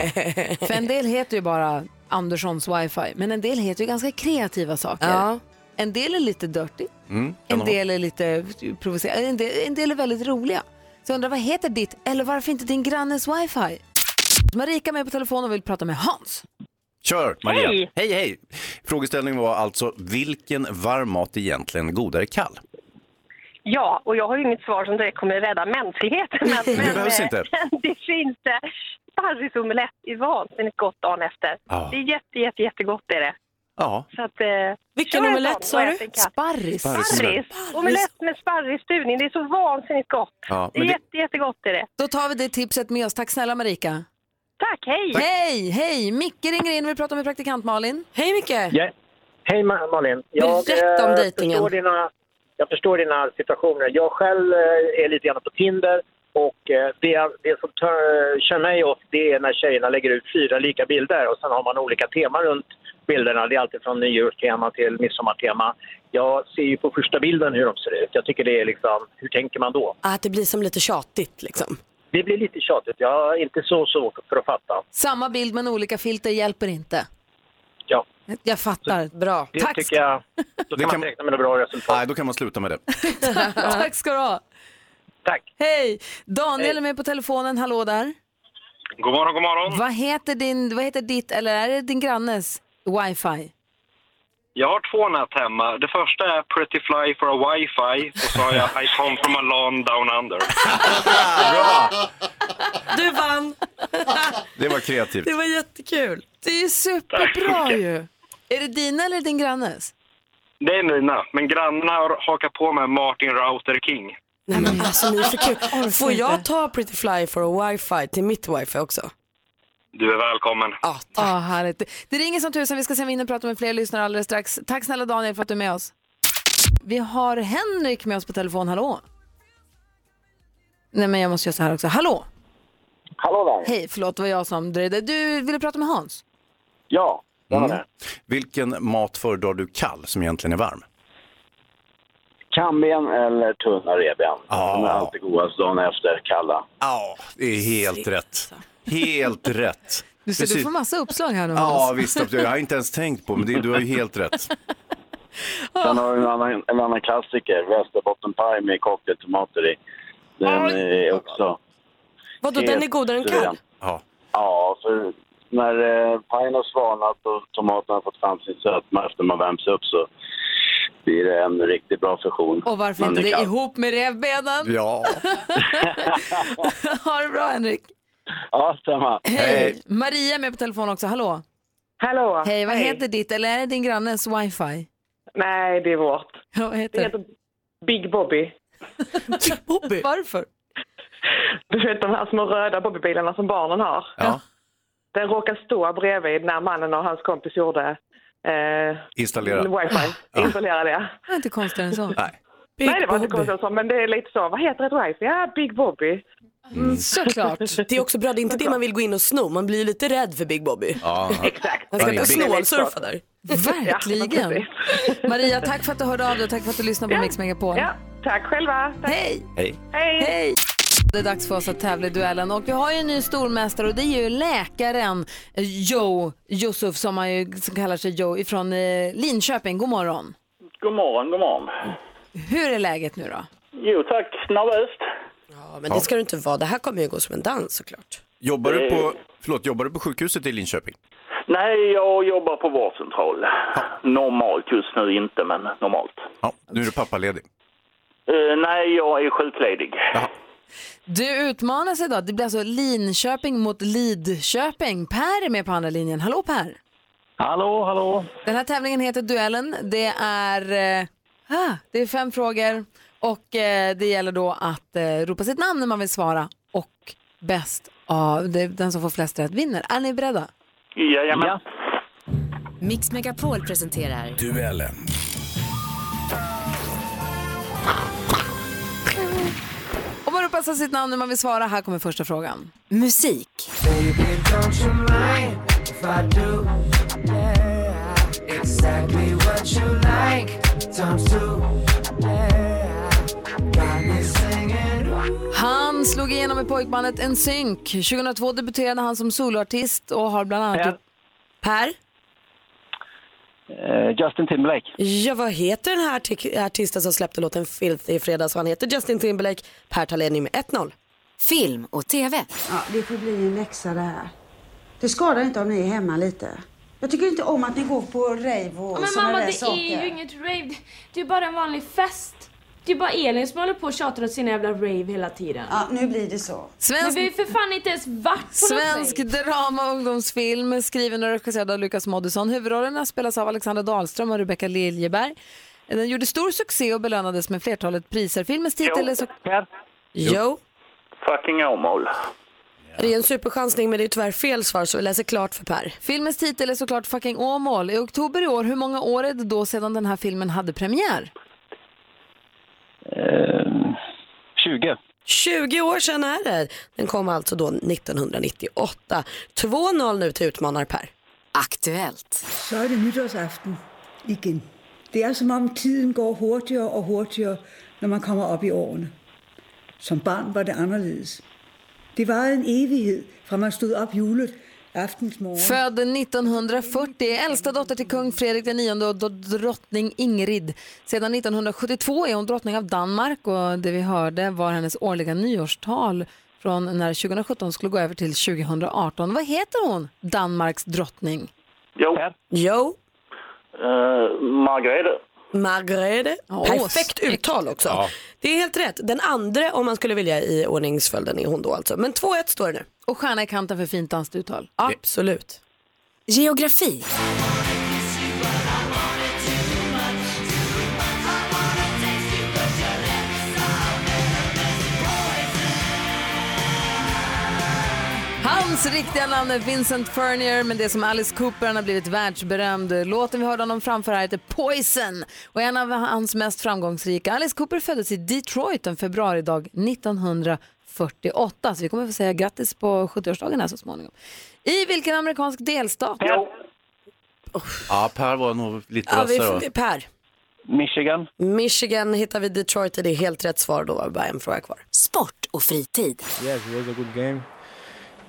Speaker 4: För en del heter ju bara Anderssons wifi, men en del heter ju ganska kreativa saker.
Speaker 6: Ja.
Speaker 4: En del är lite dirty,
Speaker 5: Mm, kan
Speaker 4: en
Speaker 5: ha-
Speaker 4: del är lite provocerande, en del, en del är väldigt roliga. Så jag undrar, vad heter ditt, eller varför inte din grannes wifi? Marika är med på telefon och vill prata med Hans.
Speaker 5: Kör Maria!
Speaker 7: Hej.
Speaker 5: hej! hej. Frågeställningen var alltså vilken varm mat är egentligen godare kall?
Speaker 7: Ja, och jag har ju inget svar som direkt kommer rädda mänskligheten. Men,
Speaker 5: Det behövs
Speaker 7: eh,
Speaker 5: inte.
Speaker 7: det finns eh, sparrisomelett i vansinnigt gott dagen efter.
Speaker 5: Ja.
Speaker 7: Det är jätte, jätte, jättegott är det.
Speaker 5: Ja,
Speaker 7: Så att, eh,
Speaker 6: Vilken
Speaker 7: kör en sån
Speaker 6: omelett sa
Speaker 7: och
Speaker 6: du?
Speaker 7: ät en katt.
Speaker 4: Sparris.
Speaker 5: Sparris.
Speaker 7: Sparris. Omelett med sparrisstuvning. Det är så vansinnigt gott.
Speaker 5: ja.
Speaker 7: Det är jätte, jättegott är det.
Speaker 4: Då tar vi det tipset med oss. Tack snälla Marika.
Speaker 7: Tack, hej!
Speaker 4: Hej, hej! Micke ringer in och vill prata med praktikant Malin.
Speaker 6: Hej Micke!
Speaker 13: Ja. Hej Ma- Malin.
Speaker 6: Berätta om
Speaker 13: eh,
Speaker 6: dejtingen.
Speaker 13: Förstår dina, jag förstår dina situationer. Jag själv eh, är lite grann på Tinder och eh, det, det som tör, kör mig åt det är när tjejerna lägger ut fyra lika bilder och sen har man olika teman runt bilderna. Det är alltid från nyårstema till midsommartema. Jag ser ju på första bilden hur de ser ut. Jag tycker det är liksom, hur tänker man då?
Speaker 6: Ah, Att det blir som lite tjatigt liksom.
Speaker 13: Det blir lite tjatigt. Jag är inte så svårt för att fatta.
Speaker 4: Samma bild men olika filter hjälper inte.
Speaker 13: Ja,
Speaker 4: Jag fattar.
Speaker 6: Bra.
Speaker 13: det
Speaker 4: Tack.
Speaker 13: tycker jag. Då kan
Speaker 5: kan-
Speaker 13: man räkna med några bra resultat.
Speaker 5: Nej, då kan man sluta med det.
Speaker 4: Tack ska du ha.
Speaker 13: Tack!
Speaker 4: Hej! Daniel är med på telefonen. Hallå där.
Speaker 12: God morgon, god morgon.
Speaker 4: Vad heter, din, vad heter ditt, eller är det din grannes wifi?
Speaker 12: Jag har två nät hemma. Det första är Pretty Fly for a Wi-Fi och så har jag I come from a lawn down under.
Speaker 6: Du vann!
Speaker 5: Det var kreativt.
Speaker 6: Det var jättekul.
Speaker 4: Det är ju superbra ju. Är det dina eller din grannes?
Speaker 12: Det är mina, men grannarna har hakat på med Martin Router King.
Speaker 6: Nej men alltså ni är för kul. Får
Speaker 4: inte.
Speaker 6: jag ta Pretty Fly for a wifi till mitt wifi också?
Speaker 12: Du är välkommen.
Speaker 6: Ja, tack.
Speaker 4: Ja, härligt. Det ringer som tusan. Vi ska se om vi hinner prata med fler lyssnare alldeles strax. Tack snälla Daniel för att du är med oss. Vi har Henrik med oss på telefon. Hallå? Nej, men jag måste göra så här också. Hallå?
Speaker 13: Hallå där!
Speaker 4: Hej, förlåt, det var jag som dröjde. Du ville prata med Hans?
Speaker 13: Ja,
Speaker 5: Mm. Vilken mat föredrar du kall som egentligen är varm?
Speaker 13: Kamben eller tunna revben.
Speaker 5: Ja.
Speaker 13: De är alltid godast dagen efter kalla.
Speaker 5: Ja, det är helt rätt.
Speaker 6: alltså.
Speaker 5: Helt rätt.
Speaker 4: Du, ser, du
Speaker 5: Precis.
Speaker 4: får massa uppslag här nu, Hans.
Speaker 5: Ja, visst. Jag har inte ens tänkt på men det, du har ju helt rätt.
Speaker 13: Sen har vi en annan, en annan klassiker, Västerbottenpaj med cocktailtomater i. Den är också...
Speaker 6: Vadå, den är godare än kall?
Speaker 5: Ja.
Speaker 13: Ja, för när eh, pajen har svalnat och tomaterna har fått fram sin sötma efter man värms upp så blir det en riktigt bra fusion.
Speaker 4: Och varför
Speaker 13: Men
Speaker 4: inte det
Speaker 13: kan-
Speaker 4: ihop med revbenen?
Speaker 5: ja.
Speaker 4: ha det bra, Henrik.
Speaker 13: Ja, samma.
Speaker 4: Hej. Maria är med på telefon också. Hallå?
Speaker 14: Hallå.
Speaker 4: Hej, vad heter ditt, eller är det din grannes wifi?
Speaker 14: Nej, det är vårt.
Speaker 4: Vad heter
Speaker 14: Det heter Big Bobby.
Speaker 4: Bobby? Varför?
Speaker 14: Du vet de här små röda Bobbybilarna som barnen har.
Speaker 5: Ja.
Speaker 14: Den råkar stå bredvid när mannen och hans kompis gjorde eh,
Speaker 5: Installera.
Speaker 14: wifi. Installera det.
Speaker 4: Det är inte konstigare än så.
Speaker 5: Nej.
Speaker 14: Nej, det var inte konstigt så, men det är lite så. Vad heter ett wifi? Ja, Big Bobby.
Speaker 4: Mm,
Speaker 14: Mm.
Speaker 4: Såklart.
Speaker 6: Det är också bra, det är inte det man vill gå in och sno. Man blir ju lite rädd för Big Bobby.
Speaker 5: Ja.
Speaker 14: Exakt.
Speaker 6: Man ska
Speaker 5: Ja,
Speaker 6: inte
Speaker 5: det är big.
Speaker 6: snålsurfa där.
Speaker 4: Alltså, Verkligen. Maria, tack för att du hörde av dig och tack för att du lyssnade på Mix Megapol.
Speaker 14: Ja, tack själva.
Speaker 4: Hej!
Speaker 5: Hej.
Speaker 14: Hej!
Speaker 4: Det är dags för oss att tävla i duellen och vi har ju en ny stormästare och det är ju läkaren eh, Joe Josef som, han ju, som kallar sig Joe ifrån eh, Linköping. God morgon!
Speaker 15: God morgon, god morgon.
Speaker 4: Hur är läget nu då?
Speaker 15: Jo tack, nervöst.
Speaker 6: Ja, men det ska du inte vara. Det här kommer ju gå som en dans såklart.
Speaker 5: Jobbar du, på,
Speaker 15: Eh.
Speaker 5: förlåt, jobbar du på sjukhuset i Linköping?
Speaker 15: Nej, jag jobbar på vårdcentral. Normalt just nu inte, men normalt.
Speaker 5: Ja, nu är du pappaledig.
Speaker 15: Eh, nej, jag är sjukledig.
Speaker 4: Du utmanas idag. Det blir alltså Linköping mot Lidköping. Per är med på andra linjen. Hallå Per!
Speaker 15: Hallå, hallå.
Speaker 4: Den här tävlingen heter Duellen. Det är, eh, ah, det är fem frågor och eh, det gäller då att eh, ropa sitt namn när man vill svara och bäst av det, den som får flest rätt vinner. Är ni beredda?
Speaker 15: Jajamän. Ja.
Speaker 16: Mix Megapol presenterar
Speaker 17: Duellen.
Speaker 4: Om man ropar sitt namn när man vill svara, här kommer första frågan.
Speaker 16: musik.
Speaker 4: Han slog igenom med pojkbandet NSYNC. 2002 debuterade han som soloartist och har bland annat... Per?
Speaker 15: Eh, Justin Timberlake.
Speaker 6: Ja, vad heter den här artik- artisten som släppte låten Filth i fredags? Han heter Justin Timberlake. Per tar ledning med 1-0.
Speaker 16: Film och TV.
Speaker 18: Ja, det får bli en läxa det här. Det skadar inte om ni är hemma lite. Jag tycker inte om att ni går på rave och
Speaker 19: Men
Speaker 18: sådana
Speaker 19: mamma
Speaker 18: där
Speaker 19: det
Speaker 18: saker.
Speaker 19: är ju inget rave. Det är bara en vanlig fest. Det är bara Elin som håller på och tjatar åt sina jävla rave hela tiden.
Speaker 18: Ja, nu blir det så.
Speaker 19: Men vi har ju för fan inte ens varit på
Speaker 4: Svensk
Speaker 19: något rave.
Speaker 4: drama och ungdomsfilm skriven och regisserad av Lukas Moodysson. Huvudrollerna spelas av Alexander Dahlström och Rebecca Liljeberg. Den gjorde stor succé och belönades med flertalet priser. Filmens titel är så...
Speaker 15: Per?
Speaker 6: Jo.
Speaker 15: Fucking Åmål.
Speaker 6: Det är en superchansning men det är tyvärr fel svar så vi läser klart för Per.
Speaker 4: Filmens titel är såklart Fucking Åmål. I oktober i år, hur många år är det då sedan den här filmen hade premiär?
Speaker 15: 20.
Speaker 6: 20 år sedan är det. Den kom alltså då 1998. 2-0 nu till utmanar Per.
Speaker 16: Aktuellt.
Speaker 20: Så er det nytårsaften igen. Det er som om tiden går hurtigere og hurtigere, når man kommer op i årene. Som barn var det anderledes. Det varede en evighed, fra man stod op julet aftensmorgen.
Speaker 4: Född 1940, äldsta dotter till kung Fredrik IX och dot- drottning Ingrid. Sedan 1972 är hon drottning av Danmark och det vi hörde var hennes årliga nyårstal från när 2017 skulle gå över till 2018. Vad heter hon, Danmarks drottning?
Speaker 15: Jo.
Speaker 6: Jo.
Speaker 15: Uh, Margareta.
Speaker 6: Margrethe.
Speaker 15: Ja,
Speaker 6: Perfekt uttal också. Det är helt rätt. Den andra om man skulle vilja i ordningsföljden är hon då alltså. Men 2-1 står det nu.
Speaker 4: Och stjärna i kanten för fint danskt uttal.
Speaker 6: Absolut.
Speaker 16: Geografi.
Speaker 4: Hans riktiga namn är Vincent Furnier, men det som Alice Cooper han har blivit världsberömd. Låten vi hörde honom framföra här heter Poison och är en av hans mest framgångsrika. Alice Cooper föddes i Detroit en februaridag 1948, så vi kommer få säga grattis på 70-årsdagen här så småningom. I vilken amerikansk delstat?
Speaker 5: Ja, Per var nog lite
Speaker 6: Ja, vi,
Speaker 5: vassare. va?
Speaker 6: per.
Speaker 15: Michigan.
Speaker 6: Michigan hittar vi Detroit i. Det är helt rätt svar. Då var det bara en fråga kvar.
Speaker 16: Sport och fritid.
Speaker 21: Yes, it was a good game.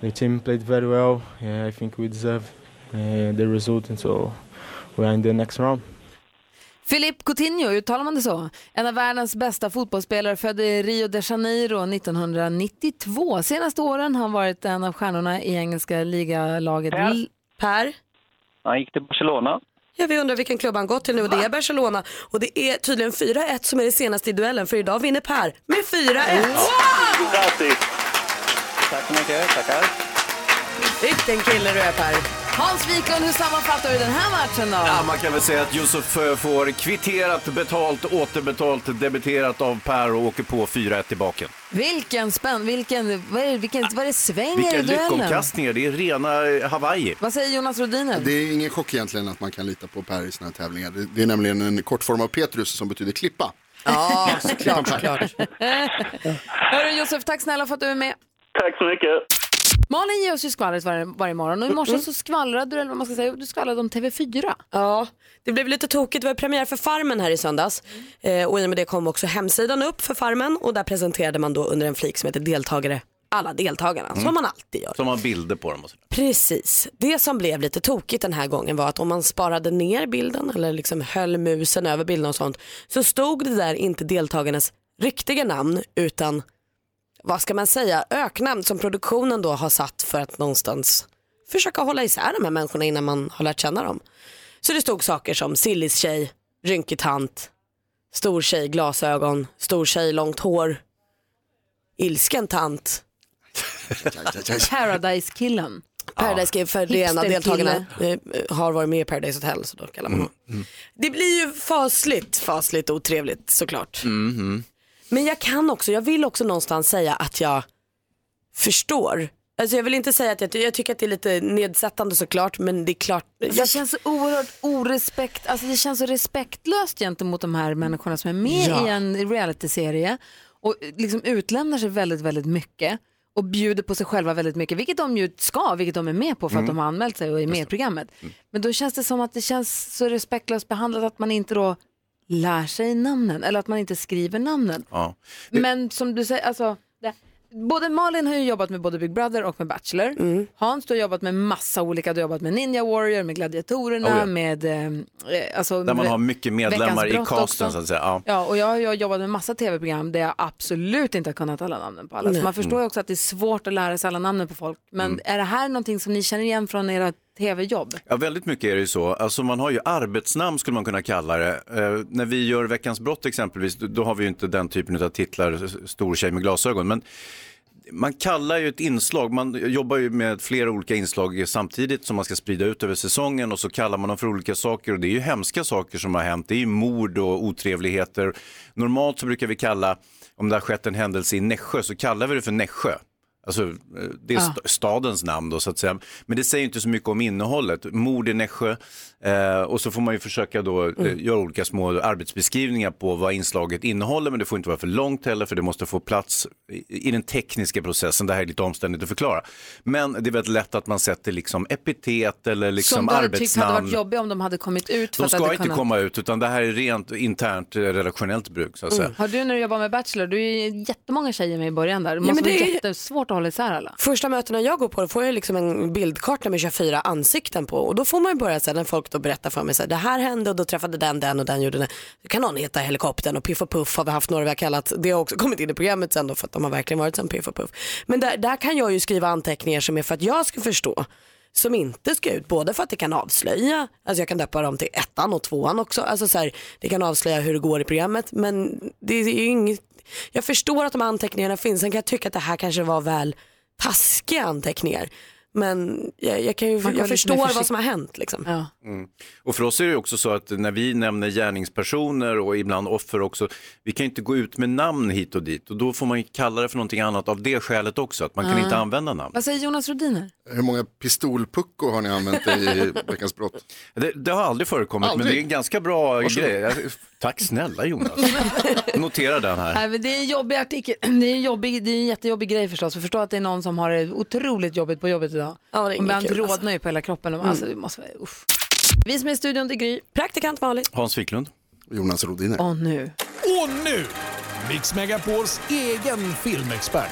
Speaker 21: The team played very well. Yeah, I think we deserve uh, the result, and so we are in the next round.
Speaker 4: Philip Coutinho, uttalar man det så? En av världens bästa fotbollsspelare, född i Rio de Janeiro 1992. Senaste åren har han varit en av stjärnorna i engelska ligalaget.
Speaker 15: Per.
Speaker 6: Per?
Speaker 15: Han gick till Barcelona.
Speaker 6: Ja, vi undrar vilken klubb han gått till nu och det är Barcelona. Och det är tydligen 4-1 som är det senaste i duellen för idag vinner Per med 4-1.
Speaker 15: Grattis! Tack så mycket, tackar.
Speaker 6: Vilken kille du är Per.
Speaker 4: Hans Wiklund, hur sammanfattar du den här matchen då?
Speaker 5: Ja, man kan väl säga att Yusuf eh, får kvitterat, betalt, återbetalt, debiterat av Per och åker på 4-1 i baken.
Speaker 4: Vilken spänn, vilken, vad är, det- vilken, vad är det svänger
Speaker 5: Vilka
Speaker 4: i duellen?
Speaker 5: lyckomkastningar, det är rena eh, Hawaii.
Speaker 4: Vad säger Jonas Rodiner?
Speaker 9: Det är ingen chock egentligen att man kan lita på Per i sådana här tävlingar. Det- Det är nämligen en kortform av Petrus som betyder klippa.
Speaker 4: Ja,
Speaker 9: Så klippan Per.
Speaker 4: Hörru Josef, tack snälla för att du är med.
Speaker 22: Tack så mycket.
Speaker 4: Malin ger oss ju skvallret var, varje morgon och i
Speaker 9: Mm.
Speaker 4: morse så skvallrade du, eller vad man ska säga, du skvallrade om TV4.
Speaker 6: Ja, det blev lite tokigt. Det var premiär för Farmen här i söndags eh, och i och med det kom också hemsidan upp för Farmen och där presenterade man då under en flik som heter deltagare alla deltagarna som man alltid gör.
Speaker 5: Som har bilder på dem och sådär.
Speaker 6: Precis. Det som blev lite tokigt den här gången var att om man sparade ner bilden eller liksom höll musen över bilden och sånt så stod det där inte deltagarnas riktiga namn utan vad ska man säga, öknamn som produktionen då har satt för att någonstans försöka hålla isär de här människorna innan man har lärt känna dem. Så det stod saker som sillis tjej, rynkig tant, stor tjej, glasögon, stor tjej, långt hår, ilsken tant.
Speaker 4: Alltså Paradise-killen.
Speaker 6: Paradise Game för det ena
Speaker 4: Hipsterkille.
Speaker 6: deltagarna eh, har varit med i Paradise Hotel så då kallar man honom. Det blir ju fasligt, fasligt otrevligt såklart. Men jag kan också, jag vill också någonstans säga att jag förstår. Alltså jag vill inte säga att jag, jag tycker att det är lite nedsättande såklart men det är klart.
Speaker 4: Det känns så oerhört orespekt, alltså det känns så respektlöst gentemot de här människorna som är med
Speaker 6: Ja.
Speaker 4: i en realityserie och liksom utlämnar sig väldigt, väldigt mycket och bjuder på sig själva väldigt mycket, vilket de ju ska, vilket de är med på för att
Speaker 6: Mm.
Speaker 4: de har anmält sig och är med i programmet. Men då känns det som att det känns så respektlöst behandlat att man inte då lär sig namnen eller att man inte skriver namnen.
Speaker 5: Ja.
Speaker 4: Men som du säger, alltså, det, både Malin har ju jobbat med både Big Brother och med Bachelor.
Speaker 5: Mm.
Speaker 4: Hans, du har jobbat med massa olika, du har jobbat med Ninja Warrior, med Gladiatorerna,
Speaker 5: Oh ja.
Speaker 4: med... Eh, alltså,
Speaker 5: Där man har mycket medlemmar i
Speaker 4: Veckans brott
Speaker 5: casten
Speaker 4: också.
Speaker 5: så att säga. Ja.
Speaker 4: Ja, och jag har ju jobbat med massa tv-program där jag absolut inte har kunnat alla namnen på alla. Så
Speaker 5: Nej.
Speaker 4: man förstår ju
Speaker 5: Mm.
Speaker 4: också att det är svårt att lära sig alla namnen på folk. Men är det här någonting som ni känner igen från era tv-jobb?
Speaker 5: Ja, väldigt mycket är det ju så. Alltså man har ju arbetsnamn skulle man kunna kalla det. Eh, när vi gör Veckans brott exempelvis, då, då har vi ju inte den typen av titlar, s- stor tjej med glasögon. Men man kallar ju ett inslag, man jobbar ju med flera olika inslag samtidigt som man ska sprida ut över säsongen och så kallar man dem för olika saker och det är ju hemska saker som har hänt. Det är ju mord och otrevligheter. Normalt så brukar vi kalla, om det har skett en händelse i Nässjö så kallar vi det för Nässjö. Alltså eh, det är
Speaker 23: Ja.
Speaker 5: st- stadens namn då så att säga. Men det säger ju inte så mycket om innehållet. Mord i Nässjö eh, och så får man ju försöka då eh,
Speaker 4: Mm.
Speaker 5: göra olika små arbetsbeskrivningar på vad inslaget innehåller men det får inte vara för långt heller för det måste få plats i, i den tekniska processen. Det här är lite omständigt att förklara. Men det är väldigt lätt att man sätter liksom epitet eller
Speaker 4: som
Speaker 5: liksom
Speaker 4: du hade tyckt hade varit
Speaker 5: arbetsnamn.
Speaker 4: jobbiga om de hade kommit ut.
Speaker 5: De
Speaker 4: att det
Speaker 5: ska
Speaker 4: hade
Speaker 5: inte
Speaker 4: kunnat-
Speaker 5: komma ut utan det här är rent internt eh, redaktionellt bruk så att säga.
Speaker 4: Mm. Har du när du jobbar med Bachelor, du är ju jättemånga tjejer med i början där. Det
Speaker 6: Ja,
Speaker 4: måste
Speaker 6: men
Speaker 4: vara
Speaker 6: det är-
Speaker 4: jättesvårt att hålla isär alla.
Speaker 6: Första mötena jag går på då får jag liksom en bildkarta med 24 ansikten på och då får man ju börja så här, när folk då berättar för mig så här, det här hände och då träffade den den och den gjorde den. Då kan någon heta helikoptern och Piff och Puff har vi haft några vi har kallat. Det har också kommit in i programmet sen då för att de har verkligen varit som Piff och Puff. Men där, där kan jag ju skriva anteckningar som är för att jag ska förstå som inte ska ut, både för att det kan avslöja, alltså jag kan döpa dem till ettan och tvåan också, alltså så här, det kan avslöja hur det går i programmet men det är ju inget, jag förstår att de här anteckningarna finns, sen kan jag tycka att det här kanske var väl taskiga anteckningar. Men jag, jag, kan ju,
Speaker 4: kan vara
Speaker 6: jag
Speaker 4: lite
Speaker 6: förstår
Speaker 4: mer
Speaker 6: vad
Speaker 4: försikt-
Speaker 6: som har hänt. Liksom.
Speaker 5: Mm. Och för oss är det ju också så att när vi nämner gärningspersoner och ibland offer också, vi kan ju inte gå ut med namn hit och dit och då får man ju kalla det för någonting annat av det skälet också, att man kan
Speaker 4: Ah.
Speaker 5: inte använda namn.
Speaker 4: Vad säger Jonas Rodiner?
Speaker 9: Hur många pistolpuckor har ni använt i Veckans brott?
Speaker 5: Det, det har aldrig förekommit, men
Speaker 9: Aldrig.
Speaker 5: det är en ganska bra
Speaker 9: Varsågod.
Speaker 5: grej. Jag- Tack snälla Jonas. Notera den här.
Speaker 4: Nej, men det är en jobbig artikel. Det är en, jobbig, det är en jättejobbig grej förstås. Jag förstår att det är någon som har det otroligt jobbigt på jobbet idag.
Speaker 6: Ja, det är
Speaker 4: Och ibland
Speaker 6: inget kul,
Speaker 4: rodnar
Speaker 6: alltså.
Speaker 4: ju på hela kroppen.
Speaker 6: Mm.
Speaker 4: Alltså, det måste vara, uff. Vi som är i studion, det är Gry.
Speaker 6: Praktikant Malin.
Speaker 5: Hans Wiklund.
Speaker 9: Jonas Rodiner.
Speaker 4: Och nu.
Speaker 11: Och nu, Mix Megapols egen filmexpert,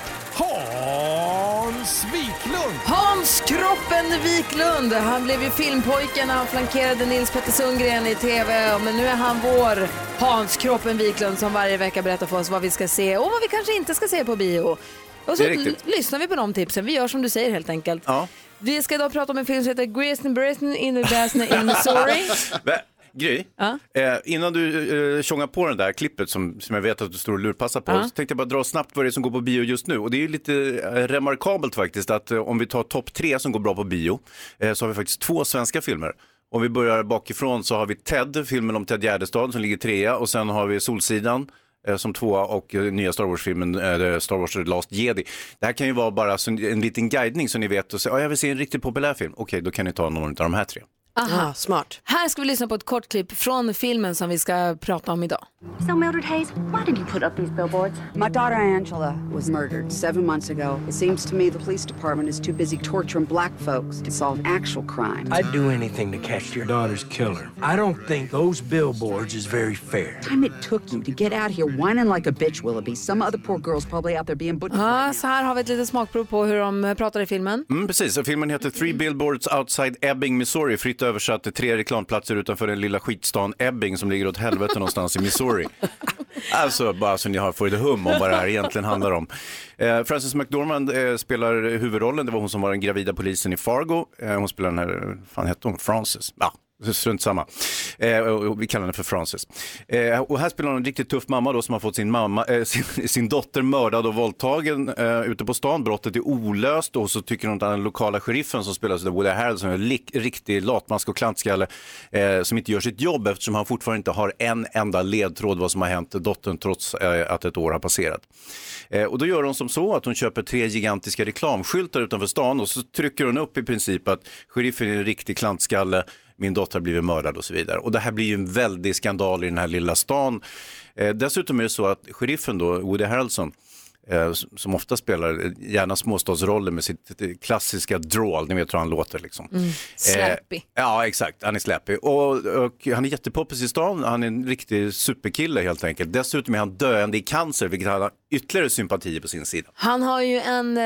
Speaker 11: Hans Wiklund.
Speaker 4: Hans Kroppen Wiklund, han blev ju filmpojken när han flankerade Nils Petter Sundgren i TV. Men nu är han vår Hans Kroppen Wiklund som varje vecka berättar för oss vad vi ska se och vad vi kanske inte ska se på bio. Och så
Speaker 24: Det är riktigt.
Speaker 4: l- lyssnar vi på de tipsen, vi gör som du säger helt enkelt.
Speaker 5: Ja.
Speaker 4: Vi ska idag prata om en film som heter Grease and Britain in the Basin in Missouri.
Speaker 5: Men Gry, eh, innan du eh, tjongar på den där klippet som, som jag vet att du står och lurpassar på,
Speaker 4: Ja.
Speaker 5: så tänkte jag bara dra snabbt vad det är som går på bio just nu. Och det är ju lite eh, remarkabelt faktiskt att eh, om vi tar topp tre som går bra på bio, eh, så har vi faktiskt två svenska filmer. Om vi börjar bakifrån så har vi Ted, filmen om Ted Gärdestad som ligger trea och sen har vi Solsidan eh, som tvåa och eh, nya Star Wars-filmen eh, Star Wars The Last Jedi. Det här kan ju vara bara så en, en liten guidning så ni vet och säger, ja jag vill se en riktigt populär film. Okej, då kan ni ta någon av de här tre.
Speaker 4: Aha.
Speaker 25: smart.
Speaker 4: Här ska vi lyssna på ett kort klipp från filmen som vi ska prata om idag.
Speaker 26: So, Mildred Hayes, why did you put up these billboards?
Speaker 27: My daughter Angela was murdered seven months ago. It seems to me the police department is too busy torturing black folks to solve actual crime.
Speaker 28: I'd do anything to catch your daughter's killer. I don't think those billboards is very fair.
Speaker 27: The time it took you to get out here whining like a bitch, Willoughby. Some other poor girl's probably out there being butchered.
Speaker 4: Ja, så här har vi ett litet smakprov på hur de eh, pratar i filmen.
Speaker 5: Mm, precis, och filmen heter Three Billboards Outside Ebbing, Missouri. Fritt översatt, tre reklamplatser utanför den lilla skitstan Ebbing som ligger åt helvete någonstans i Missouri. Alltså, bara så ni har får ett hum om vad det här egentligen handlar om. Eh, Frances McDormand eh, spelar huvudrollen, det var hon som var den gravida polisen i Fargo. Eh, hon spelar den här, vad fan hette hon, Frances? Ja. Strunt samma. Eh, och- och vi kallar henne för Frances. Eh, och här spelar hon en riktigt tuff mamma då som har fått sin, mamma, eh, sin, sin dotter mördad och våldtagen eh, ute på stan. Brottet är olöst och så tycker hon att den lokala sheriffen som spelas av Woody Harrelson är en lik- riktig latmask och klantskalle eh, som inte gör sitt jobb eftersom han fortfarande inte har en enda ledtråd vad som har hänt dottern trots eh, att ett år har passerat. Eh, och då gör hon som så att hon köper tre gigantiska reklamskyltar utanför stan och så trycker hon upp i princip att sheriffen är en riktig klantskalle min dotter har blivit mördad och så vidare. Och det här blir ju en väldig skandal i den här lilla stan. Eh, dessutom är det så att sheriffen då, Woody Harrelson, eh, s- som ofta spelar eh, gärna småstadsroller med sitt eh, klassiska drawl, ni vet hur han låter liksom.
Speaker 4: Mm. Släpig.
Speaker 5: Eh, ja, exakt, han är släpig. Och, och han är jättepoppis i stan, han är en riktig superkille helt enkelt. Dessutom är han döende i cancer, vilket han har ytterligare sympati på sin sida.
Speaker 4: Han har ju en eh,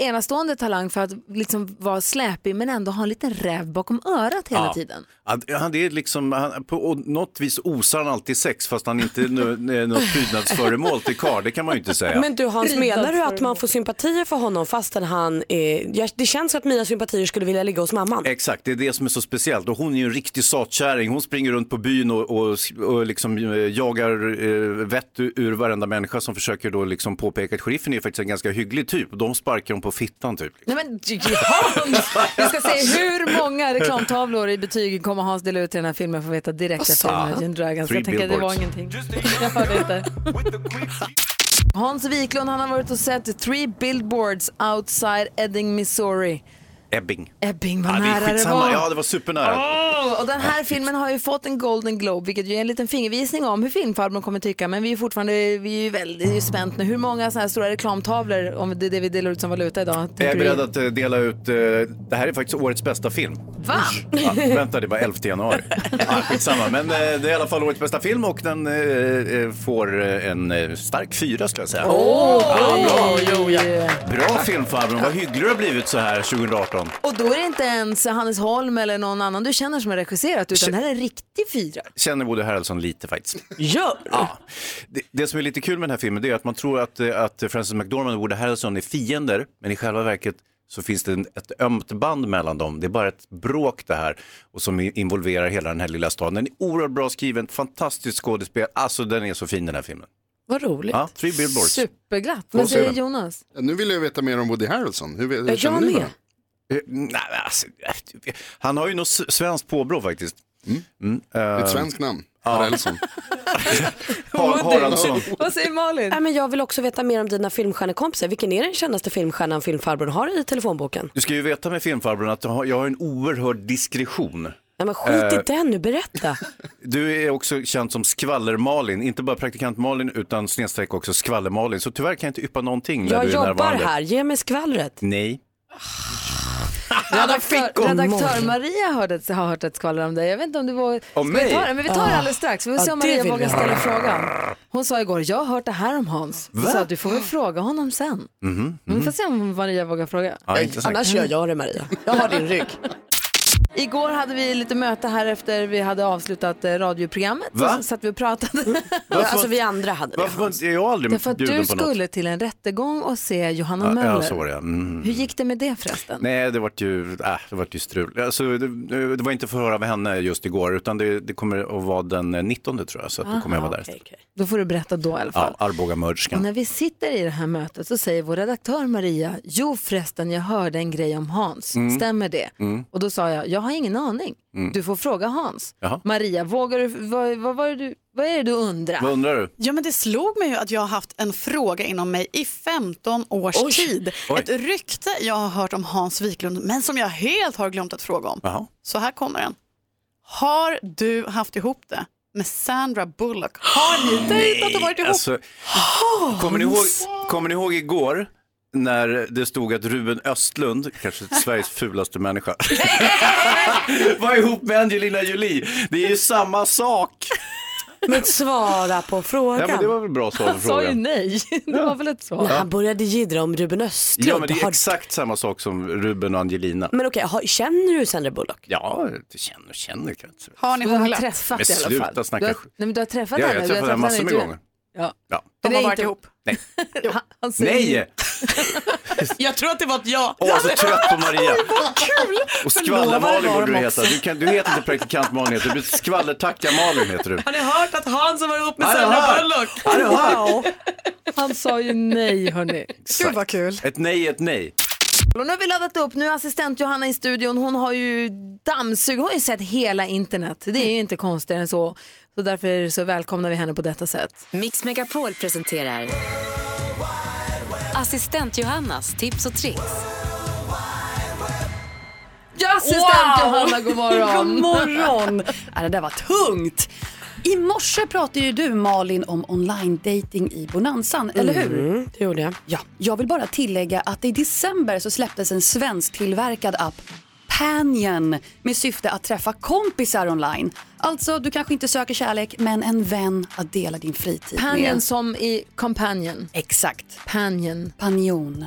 Speaker 4: enastående talang för att liksom vara släpig men ändå ha en liten räv bakom örat hela
Speaker 5: Ja.
Speaker 4: tiden.
Speaker 5: Han, han det är liksom, han, på och något vis osar han alltid sex fast han inte är nu- är något prydnadsföremål till karl, det kan man ju inte säga.
Speaker 6: Men du Hans, menar du att man får sympatier för honom fastän han är... Ja, Det känns att mina sympatier skulle vilja ligga hos mamman.
Speaker 5: Exakt, det är det som är så speciellt. Och hon är ju en riktig satkärring. Hon springer runt på byn och, och, och liksom eh, jagar eh, vett ur, ur varenda människa som försöker då liksom påpeka att sheriffen är ju faktiskt en ganska hygglig typ. Och de sparkar hon på fittan typ.
Speaker 4: Nej men Hans! Vi ska se hur många reklamtavlor i betyg kommer Hans dela ut till den här filmen för att veta direkt efter
Speaker 5: Sa-
Speaker 4: Imagine Dragons.
Speaker 5: Three
Speaker 4: Jag tänker att det var
Speaker 5: billboards.
Speaker 4: ingenting. Jag hörde inte. Hans Wiklund han har varit och sett Three Billboards outside Edding, Missouri.
Speaker 5: Ebbing.
Speaker 4: Ebbing, vad
Speaker 5: Ja, det är
Speaker 4: nära det
Speaker 5: skitsamma.
Speaker 4: var. Ah.
Speaker 5: Ja, det var supernära.
Speaker 4: Åh, och den här filmen har ju fått en Golden Globe, vilket ju är en liten fingervisning om hur filmfarbrorn kommer tycka. Men vi är fortfarande vi är ju väldigt spänt nu. Hur många sådana här stora reklamtavlor, om det är det vi delar ut som valuta idag,
Speaker 5: Jag är
Speaker 4: tänker
Speaker 5: beredd
Speaker 4: du?
Speaker 5: att eh, dela ut, eh, det här är faktiskt årets bästa film.
Speaker 4: Va?
Speaker 5: Ja, vänta, det var 11 januari. Ja, skitsamma, men eh, det är i alla fall årets bästa film och den eh, eh, får eh, en eh, stark fyra skulle jag säga. ja, bra. bra filmfarbrorn, vad hygglig du har blivit så här 2018.
Speaker 4: Och då är det inte ens Hannes Holm eller någon annan du känner som har regisserat, utan det här är en riktig fyra.
Speaker 5: Känner Woody Harrelson lite faktiskt. Gör ja. det, det som är lite kul med den här filmen det är att man tror att, eh, att Frances McDormand och Woody Harrelson är fiender, men i själva verket så finns det en, ett ömt band mellan dem. Det är bara ett bråk det här och som i- involverar hela den här lilla staden. Den är oerhört bra skriven, fantastiskt skådespel. Alltså den är så fin den här filmen.
Speaker 4: Vad roligt.
Speaker 5: Ja, Three Billboards.
Speaker 4: Superglatt.
Speaker 5: Vad
Speaker 4: Vad
Speaker 5: säger
Speaker 4: säger Jonas?
Speaker 9: Nu vill jag veta mer om Woody Harrelson. Hur, hur
Speaker 4: Jag
Speaker 9: känner ni för
Speaker 4: med.
Speaker 9: honom?
Speaker 5: Eh, Nej, men alltså, eh, han har ju något s- svenskt påbrå faktiskt. Mm.
Speaker 9: Ett svenskt namn, Harrelson.
Speaker 5: Haraldsson.
Speaker 4: Vad säger Malin?
Speaker 6: Nej, men jag vill också veta mer om dina filmstjärnekompisar. Vilken är den kändaste filmstjärnan filmfarbrorn har i telefonboken?
Speaker 5: Du ska ju veta med filmfarbrorn att jag har- jag har en oerhörd diskretion.
Speaker 6: Nej, men skit
Speaker 5: Eh.
Speaker 6: i den nu, berätta.
Speaker 5: Du är också känd som Skvaller-Malin, inte bara praktikant-Malin utan snedstreck också Skvaller-Malin. Så tyvärr kan jag inte yppa någonting när
Speaker 6: Jag
Speaker 5: du är
Speaker 6: jobbar
Speaker 5: närvarande.
Speaker 6: här, ge mig skvallret.
Speaker 5: Nej.
Speaker 4: Redaktör,
Speaker 6: hon.
Speaker 4: redaktör
Speaker 6: Malin.
Speaker 4: Maria hörde, ett- har hört ett skvaller om dig. Jag vet inte om du vågar...
Speaker 5: Om
Speaker 4: Ska vi ta
Speaker 5: mig?
Speaker 4: det? Men vi tar det
Speaker 5: Ah.
Speaker 4: alldeles strax. Vi får
Speaker 6: Ja,
Speaker 4: se om
Speaker 6: det
Speaker 4: Maria
Speaker 6: vill
Speaker 4: vågar
Speaker 6: jag.
Speaker 4: ställa frågan. Hon sa igår, jag har hört det här om Hans. Hon
Speaker 6: Va?
Speaker 4: sa att du får väl fråga honom sen.
Speaker 5: Mhm.
Speaker 4: Vi får se om Maria vågar fråga.
Speaker 5: Ja, intressant.
Speaker 6: Annars gör jag det Maria. Jag har din rygg.
Speaker 4: Igår hade vi lite möte här efter vi hade avslutat eh, radioprogrammet.
Speaker 5: Va?
Speaker 4: Så satt vi och pratade.
Speaker 5: Varför- Alltså, vi
Speaker 4: andra hade
Speaker 5: Varför var inte jag aldrig
Speaker 4: Därför att
Speaker 5: bjuden
Speaker 4: du
Speaker 5: på något?
Speaker 4: skulle till en rättegång och se Johanna
Speaker 5: Ja,
Speaker 4: Möller.
Speaker 5: ja, så var det. ja. Mm.
Speaker 4: Hur gick det med det förresten?
Speaker 5: Nej, det vart ju, äh, det vart ju strul. Alltså, det, det var inte förhör av henne just igår, utan det, det kommer att vara den 19 tror jag, så att då kommer jag vara där.
Speaker 4: Då får du berätta då i alla fall.
Speaker 5: Ja, Arbogamörderskan.
Speaker 4: Och när vi sitter i det här mötet så säger vår redaktör Maria, jo förresten jag hörde en grej om Hans,
Speaker 5: Mm.
Speaker 4: stämmer det?
Speaker 5: Mm.
Speaker 4: Och då sa jag, jag har ingen aning,
Speaker 5: Mm.
Speaker 4: du får fråga Hans.
Speaker 5: Jaha.
Speaker 4: Maria, vågar du, vad, vad, vad, är du, vad är det du undrar?
Speaker 5: Vad undrar du?
Speaker 1: Ja, men det slog mig ju att jag har haft en fråga inom mig i 15 års
Speaker 5: Oj.
Speaker 1: tid.
Speaker 5: Oj.
Speaker 1: Ett rykte jag har hört om Hans Wiklund, men som jag helt har glömt att fråga om.
Speaker 5: Jaha.
Speaker 1: Så här kommer den. Har du haft ihop det med Sandra Bullock? Har ni dejtat och varit ihop?
Speaker 5: Alltså, kommer, ni ihåg, kommer ni ihåg igår när det stod att Ruben Östlund, kanske Sveriges fulaste människa, var ihop med Angelina Jolie? Det är ju samma sak.
Speaker 6: Men svara på frågan.
Speaker 5: Ja, men det var väl bra svar på frågan.
Speaker 4: nej. Det var väl ett svar.
Speaker 6: Han började jiddra om Ruben Östlund.
Speaker 5: Ja, men det är
Speaker 6: Har- Mm.
Speaker 5: exakt samma sak som Ruben och Angelina.
Speaker 6: men okej, har- känner du Sandra Bullock?
Speaker 5: Ja, det känner, känner kanske.
Speaker 4: Har
Speaker 6: ni
Speaker 4: du har
Speaker 6: hånglat?
Speaker 4: träffat
Speaker 5: Men
Speaker 4: i alla fall.
Speaker 5: sluta snacka
Speaker 4: du har,
Speaker 5: skit.
Speaker 4: nej, men du har
Speaker 5: Ja,
Speaker 4: träffat
Speaker 5: jag
Speaker 4: henne.
Speaker 5: har
Speaker 4: du har
Speaker 5: träffat henne massor med
Speaker 4: i duell.
Speaker 5: gånger.
Speaker 4: Ja.
Speaker 5: Ja.
Speaker 4: Men det är inte-
Speaker 5: Nej.
Speaker 4: Han, han säger
Speaker 5: Nej!
Speaker 1: Jag tror att det var ett ja.
Speaker 5: Åh, så trött på Maria.
Speaker 1: Vad kul!
Speaker 5: Och
Speaker 1: Förlovade
Speaker 5: skvaller-Malin
Speaker 1: var
Speaker 5: borde du
Speaker 1: de
Speaker 5: heta.
Speaker 1: också.
Speaker 5: Du, kan, du heter inte praktikant-Malin, heter du skvallertacka-Malin heter du.
Speaker 1: Har ni hört att Hans har varit ihop med
Speaker 5: Har ni
Speaker 1: Sandra
Speaker 5: hört?
Speaker 1: Bullock?
Speaker 5: Har ni hört?
Speaker 4: Wow. Han sa ju nej hörni.
Speaker 5: Exakt. Ett nej är ett nej.
Speaker 4: Och nu har vi laddat upp, nu är assistent Johanna i studion, hon har ju dammsugit, hon har ju sett hela internet. Det är ju inte konstigare än så. Så därför så välkomnar vi henne på detta sätt.
Speaker 29: Mix Megapol presenterar Assistent Johannas tips och tricks.
Speaker 4: Ja, assistent Johanna, god morgon.
Speaker 3: god morgon! Ja, det där var tungt. I morse pratade ju du Malin om online dating i Bonanzan, eller hur?
Speaker 6: Mm, det gjorde jag.
Speaker 3: Ja, jag vill bara tillägga att i december så släpptes en svensktillverkad app Panion med syfte att träffa kompisar online. Alltså, du kanske inte söker kärlek, men en vän att dela din fritid
Speaker 4: Panion
Speaker 3: med.
Speaker 4: som i companion.
Speaker 3: Exakt.
Speaker 4: Panion.
Speaker 3: Panion.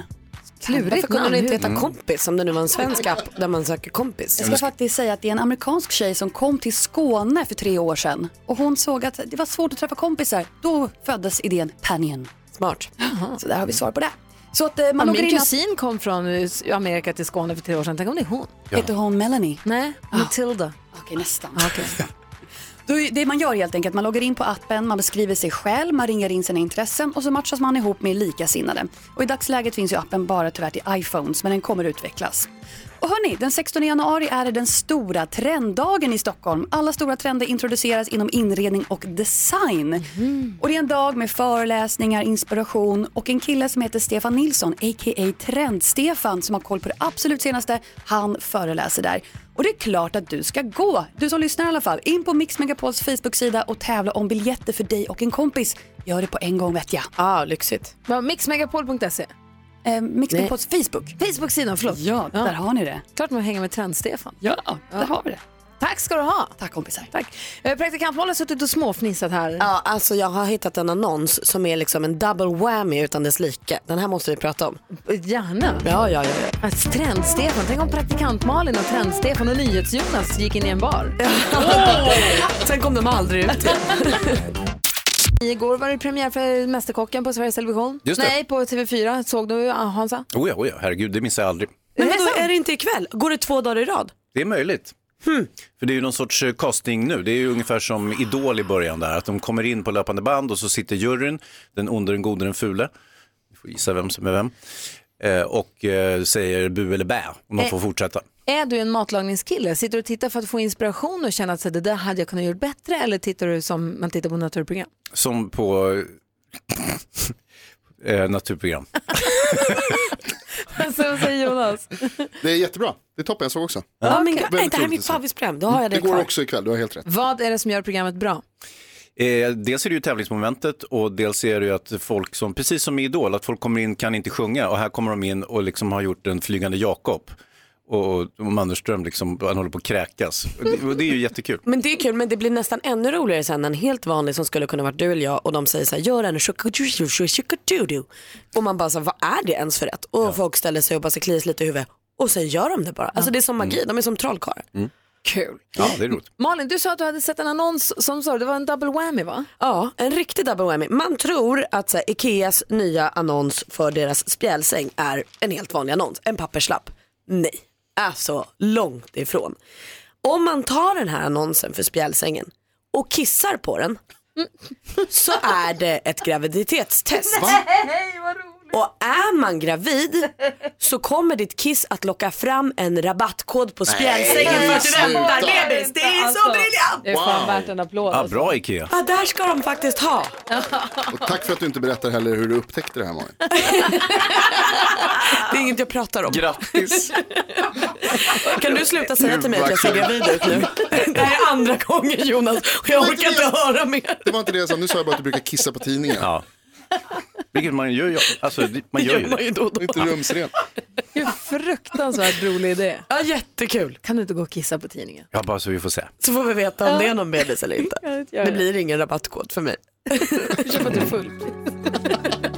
Speaker 4: Klurigt
Speaker 6: Varför kunde
Speaker 3: namn,
Speaker 6: det inte
Speaker 3: hur?
Speaker 6: heta
Speaker 3: Mm.
Speaker 6: kompis om det nu var en svensk app där man söker kompis?
Speaker 3: Jag ska faktiskt säga att det är en amerikansk tjej som kom till Skåne för tre år sedan och hon såg att det var svårt att träffa kompisar. Då föddes idén Panion.
Speaker 6: Smart.
Speaker 3: Så där har vi svar på det. Så att eh, man
Speaker 4: Om
Speaker 3: loggar
Speaker 4: min
Speaker 3: in i
Speaker 4: kusin kom från eh, Amerika till Skåne för tre år sedan, tänk om det är hon.
Speaker 3: Ja. Heter hon Melanie? Ah.
Speaker 4: Nej, Matilda.
Speaker 3: Okej, nästan. Då är- Det man gör helt enkelt, man loggar in på appen, man beskriver sig själv, man ringer in sina intressen och så matchas man ihop med likasinnade. Och i dagsläget finns ju appen bara tyvärr till iPhones, men den kommer utvecklas. Och hörni, den 16 januari är det den stora trenddagen i Stockholm. Alla stora trender introduceras inom inredning och design. Och det är en dag med föreläsningar, inspiration och en kille som heter Stefan Nilsson, a.k.a. Trend-Stefan, som har koll på det absolut senaste. Han föreläser där. Och det är klart att du ska gå, du som lyssnar i alla fall, in på Mix Megapols Facebook-sida och tävla om biljetter för dig och en kompis. Gör det på en gång vet jag.
Speaker 6: Ja, ah, lyxigt.
Speaker 4: Mixmegapol.se?
Speaker 3: Eh, Mix Megapols Facebook.
Speaker 4: Facebook-sidan, förlåt.
Speaker 3: Ja, där har ni det.
Speaker 4: Klart man hänger med Trend-Stefan.
Speaker 3: Ja, där har vi det.
Speaker 4: Tack ska du ha.
Speaker 3: Tack kompisar.
Speaker 4: Tack. Eh, Praktikantmålen har suttit och småfnissat här.
Speaker 6: Ja, alltså jag har hittat en annons som är liksom en double whammy utan dess like. Den här måste vi prata om.
Speaker 4: Gärna.
Speaker 6: Ja, ja, ja. ja.
Speaker 4: Att Trend-Stefan, tänk om praktikant-Malin och Trend-Stefan och NyhetsJonas gick in i en bar.
Speaker 6: Sen kom de aldrig ut.
Speaker 4: Igår var det premiär för Mästerkocken på Sveriges Television.
Speaker 5: Just det.
Speaker 4: Nej, på TV4. Såg du ah, Hansa?
Speaker 5: Oja, oja, oh herregud, det missar jag aldrig.
Speaker 6: Men vadå, är det inte ikväll? Går det två dagar i rad?
Speaker 5: Det är möjligt. För det är ju någon sorts eh, casting nu. Det är ju ungefär som Idol i början där. Att de kommer in på löpande band och så sitter juryn, den onde, den gode, den fule. Vi får gissa vem som är vem. Eh, och eh, säger bu eller bä om de
Speaker 4: Eh.
Speaker 5: får fortsätta.
Speaker 4: Är du en matlagningskille? Sitter du och tittar för att få inspiration och känna att så, det där hade jag kunnat gjort bättre? Eller tittar du som man tittar på naturprogram?
Speaker 5: Som på eh, naturprogram.
Speaker 4: Så vad säger Jonas?
Speaker 9: Det är jättebra. Det är toppen, jag såg också.
Speaker 6: Ja, men,
Speaker 9: Väldigt
Speaker 6: nej, det här är
Speaker 9: roligt
Speaker 6: mitt
Speaker 9: att se.
Speaker 6: favoritprogram. Då har jag det,
Speaker 9: Det går
Speaker 6: kvar.
Speaker 9: också ikväll, du har helt rätt.
Speaker 4: Vad är det som gör programmet bra?
Speaker 5: Eh, dels är det ju tävlingsmomentet och dels är det ju att folk som, precis som i Idol, att folk kommer in kan inte sjunga och här kommer de in och liksom har gjort en flygande Jakob. Och, och Mannerström liksom, han håller på att kräkas. Och det, och det är ju jättekul.
Speaker 6: Men det är kul, men det blir nästan ännu roligare sen än helt vanlig som skulle kunna varit du eller jag och de säger så här, gör en shukadudu. Och man bara så här, vad är det ens för rätt? Och folk ställer sig och bara så kliar sig lite i huvudet. och sen gör de det bara. Alltså det är som magi, de är som trollkarlar.
Speaker 5: Mm.
Speaker 4: Kul.
Speaker 5: Ja, det är roligt.
Speaker 4: Malin, du sa att du hade sett en annons som sa det var en double whammy va?
Speaker 6: Ja, en riktig double whammy. Man tror att så här, Ikeas nya annons för deras spjälsäng är en helt vanlig annons, en papperslapp. Nej, alltså långt ifrån. Om man tar den här annonsen för spjälsängen och kissar på den så är det ett graviditetstest.
Speaker 2: Nej, vad roligt!
Speaker 6: Och är man gravid så kommer ditt kiss att locka fram en rabattkod på spjälsängen för att du väntar bebis. Det är så briljant!
Speaker 4: Det är fan värt en applåd.
Speaker 5: Ja, bra Ikea.
Speaker 6: Ja, där ska de faktiskt ha.
Speaker 9: Och tack för att du inte berättar heller hur du upptäckte det här Malin.
Speaker 6: Det är inget jag pratar om.
Speaker 5: Grattis.
Speaker 6: Kan du sluta säga till mig att jag ser
Speaker 9: Gud, vad
Speaker 6: gravid ut nu? Det här är andra gången Jonas och jag orkar inte höra mer.
Speaker 9: Det var inte det jag sa, nu sa jag bara att du brukar kissa på tidningen.
Speaker 5: Ja. Vilket man gör, ju- alltså det- man gör ju det.
Speaker 9: är inte rumsrent.
Speaker 4: Hur fruktansvärt rolig idé.
Speaker 6: Ja, jättekul.
Speaker 4: Kan du inte gå och kissa på tidningen?
Speaker 5: Ja, bara så vi får se.
Speaker 6: Så får vi veta om det är någon bebis eller inte.
Speaker 4: Jag vet, jag
Speaker 6: Det
Speaker 4: vet.
Speaker 6: blir ingen rabattkod för mig.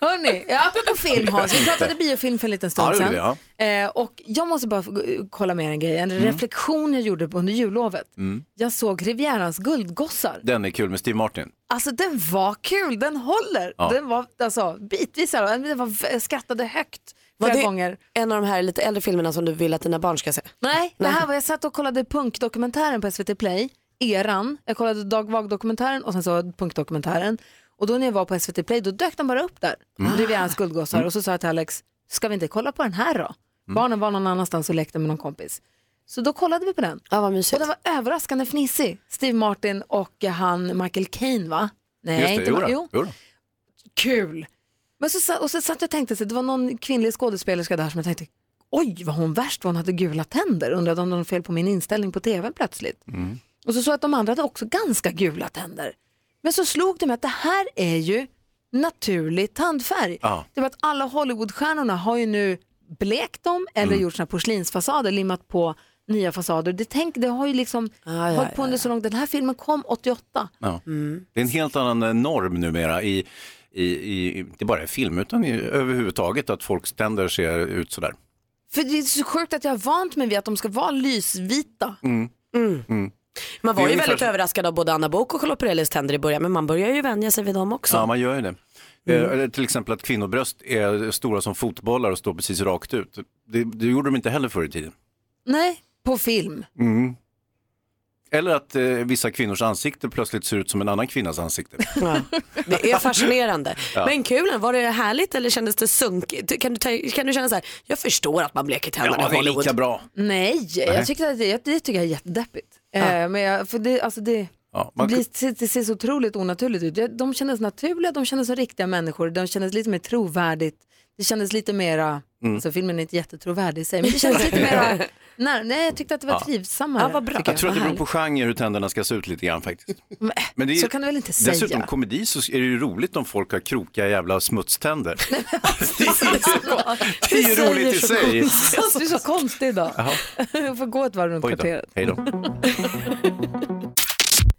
Speaker 4: Hörni, apropå film Hans, vi pratade biofilm för en liten
Speaker 2: Ja,
Speaker 4: stund
Speaker 2: det
Speaker 4: sedan.
Speaker 2: gjorde
Speaker 4: Eh, och jag måste bara få gå- kolla med er en grej, en
Speaker 5: Mm.
Speaker 4: reflektion jag gjorde under jullovet.
Speaker 5: Mm.
Speaker 4: Jag såg Rivierans guldgossar.
Speaker 5: Den är kul med Steve Martin.
Speaker 4: Alltså den var kul, den håller.
Speaker 5: Ja.
Speaker 4: Den var alltså, bitvis, så här, den var, jag skrattade högt
Speaker 6: Var
Speaker 4: flera
Speaker 6: det
Speaker 4: gånger.
Speaker 6: en av de här lite äldre filmerna som du vill att dina barn ska se?
Speaker 4: Nej, det här var, jag satt och kollade punkdokumentären på SVT Play, eran. Jag kollade Dag Vag-dokumentären och sen så punkdokumentären. Och då när jag var på SVT Play då dök den bara upp där,
Speaker 2: Mm.
Speaker 4: Rivierans guldgossar.
Speaker 2: Mm.
Speaker 4: Och så sa jag till Alex, ska vi inte kolla på den här då?
Speaker 5: Mm.
Speaker 4: Barnen var någon annanstans och lekte med någon kompis. Så då kollade vi på den.
Speaker 6: Ja, vad
Speaker 4: och den var överraskande fnissig. Steve Martin och eh, han Michael Caine va? Nej,
Speaker 5: Just det,
Speaker 4: inte
Speaker 5: jo
Speaker 4: Ma-
Speaker 5: då,
Speaker 4: jo.
Speaker 5: jo då.
Speaker 4: Kul! Men så, sa- och så satt jag och tänkte, så, det var någon kvinnlig skådespelerska där som jag tänkte, oj vad hon värst var, hon hade gula tänder. Undrade om det var något fel på min inställning på tv plötsligt.
Speaker 2: Mm.
Speaker 4: Och så såg jag att de andra hade också ganska gula tänder. Men så slog det mig att det här är ju naturlig tandfärg.
Speaker 2: Ja.
Speaker 4: Det var att alla Hollywoodstjärnorna har ju nu blekt dem eller
Speaker 2: Mm.
Speaker 4: gjort såna här porslinsfasader, limmat på nya fasader. Det, tänk, det har ju liksom hållit på under så långt. Den här filmen kom 88.
Speaker 5: Ja.
Speaker 4: Mm.
Speaker 5: Det är en helt annan eh, norm numera i, i, i inte bara i film utan i, överhuvudtaget att folks tänder ser ut sådär.
Speaker 4: För det är så sjukt att jag har vant mig vid att de ska vara lysvita.
Speaker 5: Mm. Mm.
Speaker 6: Man
Speaker 5: Det är
Speaker 6: var ju
Speaker 5: ungefär
Speaker 6: väldigt
Speaker 5: som-
Speaker 6: överraskad av både Anna Bok och Charlotte Perrellis tänder i början men man börjar ju vänja sig vid dem också.
Speaker 5: Ja, man gör ju det.
Speaker 4: Mm.
Speaker 5: Eh, eller till exempel att kvinnobröst är stora som fotbollar och står precis rakt ut. Det, det gjorde de inte heller förr i tiden.
Speaker 4: Nej, på film.
Speaker 5: Mm. Eller att eh, vissa kvinnors ansikte plötsligt ser ut som en annan kvinnas ansikte.
Speaker 6: Det är fascinerande.
Speaker 5: Ja.
Speaker 6: Men kul, var det härligt eller kändes det sunkigt? Kan du, ta- kan du känna så här, jag förstår att man bleker tänderna
Speaker 5: Ja,
Speaker 6: i
Speaker 5: det är
Speaker 6: Hollywood.
Speaker 5: lika bra.
Speaker 4: Nej,
Speaker 5: Nej.
Speaker 4: Jag tycker att det, det tycker jag är jättedeppigt. Eh, men jag, för det, alltså det,
Speaker 5: Ja, man,
Speaker 4: det, blir, det, ser så otroligt onaturligt ut. Det- De kändes naturliga, de kändes som riktiga människor, de kändes lite mer trovärdigt. Det kändes lite mera,
Speaker 2: Mm.
Speaker 4: alltså filmen är inte jättetrovärdig i sig, men det kändes lite mera, nej, nej jag tyckte att det var
Speaker 5: Ja.
Speaker 4: trivsammare. Ja, vad bra.
Speaker 5: Jag tror att det beror på genre hur tänderna ska se ut lite grann faktiskt. Men
Speaker 4: så kan du väl inte
Speaker 5: dessutom, Dessutom
Speaker 4: säga?
Speaker 5: komedi så är det ju roligt om folk har krokiga jävla smutständer. det är ju roligt i sig.
Speaker 4: Du är så konstig idag.
Speaker 5: Jaha,
Speaker 4: Jag får gå ett varv runt
Speaker 5: oj då.
Speaker 4: kvarteret.
Speaker 5: Hej då.